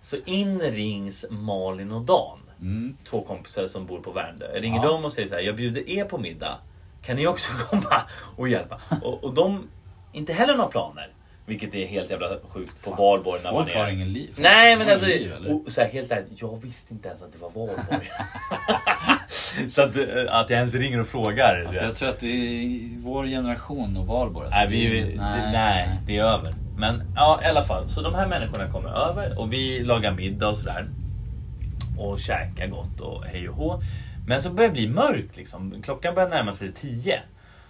S1: så in rings Malin och Dan.
S2: Mm.
S1: Två kompisar som bor på Värmdö. Jag ringer
S2: Ja.
S1: dem och säger så här, jag bjuder er på middag. Kan ni också komma och hjälpa? Och, och de, inte heller några planer. Vilket är helt jävla sjukt på valborg när man
S2: Folk
S1: är...
S2: har ingen liv. Folk
S1: Nej men
S2: har
S1: alltså,
S2: ingen liv, eller?
S1: och så här, helt ärligt, jag visste inte ens att det var valborg. så att, eh, att jag ens ringer och frågar.
S2: Alltså, jag tror att det är vår generation och valborg. Alltså,
S1: Nej, vi, det, nej.
S2: nej,
S1: det är över. Men ja, i alla fall. Så de här människorna kommer över och vi lagar middag och sådär. Och käkar gott och hej och hå. Men så börjar det bli mörkt liksom. Klockan börjar närma sig tio.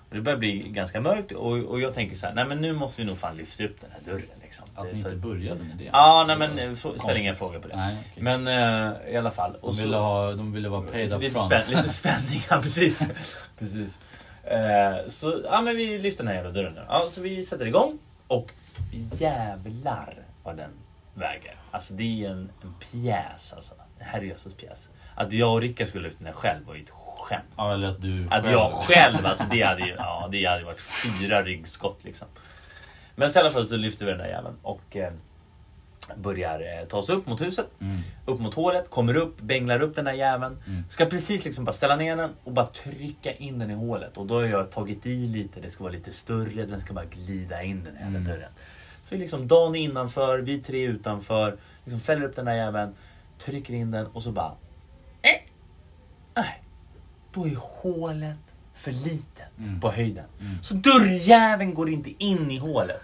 S1: Och det börjar bli ganska mörkt och, och jag tänker så här, nej men nu måste vi nog fan lyfta upp den här dörren. Liksom.
S2: Att
S1: Det är
S2: ni
S1: så
S2: inte
S1: här-
S2: började med det.
S1: Ja, nej
S2: Det var
S1: men f- ställ
S2: konstigt.
S1: ingen fråga på det.
S2: Nej, okej.
S1: Men eh, i alla fall.
S2: de,
S1: Och
S2: ville
S1: så,
S2: ha, de ville vara paid up
S1: lite,
S2: front.
S1: spänn, lite spänning, ja precis. precis. Eh, så ja, men vi lyfter den här jävla dörren nu. Ja, så vi sätter igång och jävlar vad den väger. Alltså det är en, en pjäs alltså. En herrejösses pjäs. Att jag och Rickard skulle lyfta den här själv var ju ett skämt.
S2: ja, eller att du
S1: Att jag själv, alltså det hade ju ja, det hade varit fyra ryggskott liksom. Men sen i alla fall så lyfter vi den där jäveln och eh, börjar eh, ta oss upp mot huset.
S2: Mm.
S1: Upp mot hålet, kommer upp, bänglar upp den där jäveln.
S2: Mm.
S1: Ska precis liksom bara ställa ner den och bara trycka in den i hålet. Och då har jag tagit i lite, det ska vara lite större, den ska bara glida in den här jävla
S2: Mm.
S1: dörren. Så vi liksom Dan är innanför, vi tre är utanför. Liksom fäller upp den där jäveln, trycker in den och så bara... Eh. Nej. Då är hålet för litet
S2: Mm.
S1: på höjden.
S2: Mm.
S1: Så dörrjäveln går inte in i hålet.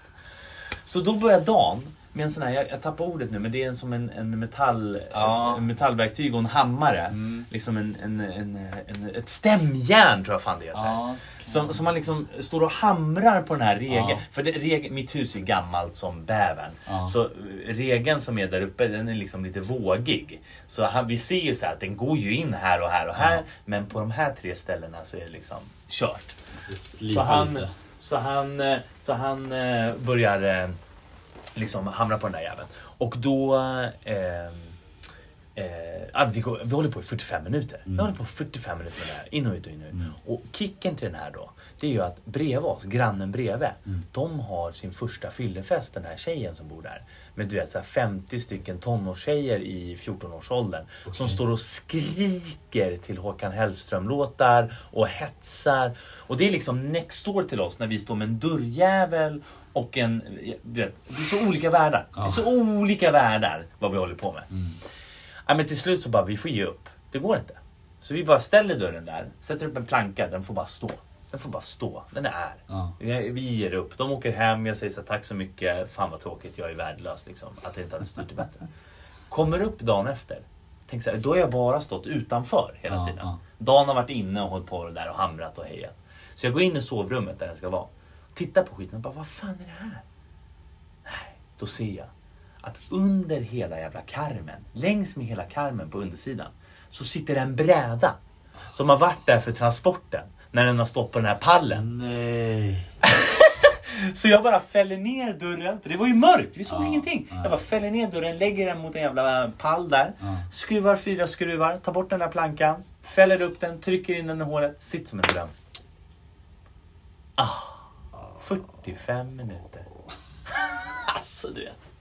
S1: Så då börjar Dan med en sån här, jag, jag tappar ordet nu, men det är en, som en, en metall,
S2: Ja.
S1: en metallverktyg och en hammare.
S2: Mm.
S1: Liksom en, en, en, en, ett stämjärn tror jag fan det heter.
S2: Ja,
S1: Som, som man liksom står och hamrar på den här regeln.
S2: Ja.
S1: För det, reg, mitt hus är gammalt som bävern.
S2: Ja.
S1: Så eh, regeln som är där uppe den är liksom lite vågig. Så han, vi ser ju så här att den går ju in här och här och här.
S2: Ja.
S1: Men på de här tre ställena så är det liksom kört.
S2: det
S1: Så
S2: slipar
S1: han,
S2: lite.
S1: så han, eh, så han eh, börjar eh, liksom hamra på den där jäveln. Och då... Eh, eh, ja, vi, går, vi håller på i 45 minuter. Vi håller på i 45 minuter med det här. In och ut och in och ut. Och kicken till den här då. Det är ju att bredvid oss, grannen bredvid. De har sin första fyllefest den här tjejen som bor där. Med du vet så här 50 stycken tonårstjejer i 14-årsåldern. Som står och skriker till Håkan Hellström-låtar och hetsar. Och det är liksom next door till oss när vi står med en dörrjävel och en... Du vet, det är så olika världar. Det är så olika världar vad vi håller på med. Ja, men till slut så bara, vi får ge upp. Det går inte. Så vi bara ställer dörren där, sätter upp en planka, den får bara stå. Den får bara stå, den är.
S2: Ja.
S1: Vi- Vi ger upp. De åker hem, jag säger så här, tack så mycket, fan vad tråkigt, jag är värdelös liksom. Att jag inte hade styrt det bättre. Kommer upp dagen efter. Tänk så här, då har jag bara stått utanför hela
S2: Ja,
S1: tiden.
S2: ja.
S1: Dan har varit inne och hållit på där och hamrat och hejat. Så jag går in i sovrummet där den ska vara. Tittar på skiten och bara, vad fan är det här? Då ser jag att under hela jävla karmen, längs med hela karmen på undersidan, så sitter en bräda som har varit där för transporten när den har stått på den här pallen.
S2: Nej.
S1: Så jag bara fäller ner dörren, för det var ju mörkt, vi såg
S2: Ja,
S1: ingenting.
S2: nej.
S1: Jag bara fäller ner dörren, lägger den mot en jävla eh, pall där.
S2: Ja.
S1: Skruvar fyra skruvar, tar bort den där plankan, fäller upp den, trycker in den i hålet, sitter som en dröm. Ah, 45 minuter. alltså du vet.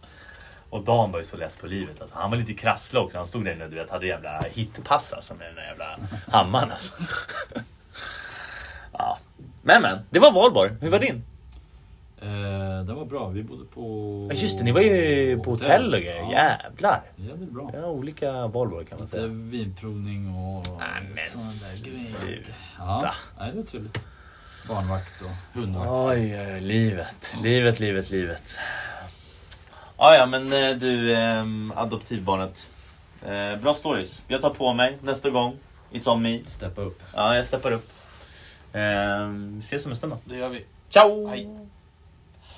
S1: Och Dan var ju så less på livet. Alltså, han var lite krasslig också. Han stod där inne och du vet, hade jävla hitpass alltså, med den där jävla hammaren. Alltså. ja. Men men, det var Valborg. Hur var din?
S2: Eh, det var bra. Vi bodde på...
S1: Ja just det, ni var ju på hotell och grejer.
S2: Ja.
S1: Jävlar!
S2: Vi hade det bra.
S1: Ja, olika Valborg kan man
S2: Lite
S1: säga.
S2: vinprovning och
S1: Nej, men
S2: sådana där grejer.
S1: sluta.
S2: Ja, nej, det var trevligt. Barnvakt och hundvakt.
S1: Oj, oj, livet. Livet, livet, livet. Ja, ja, men eh, du, ehm, adoptivbarnet. Eh, Bra stories. Jag tar på mig nästa gång. It's on me.
S2: Steppa upp.
S1: Ja, jag steppar upp. Ehm, Vi ses om en stund då.
S2: Det gör vi.
S1: Ciao!
S2: Hej.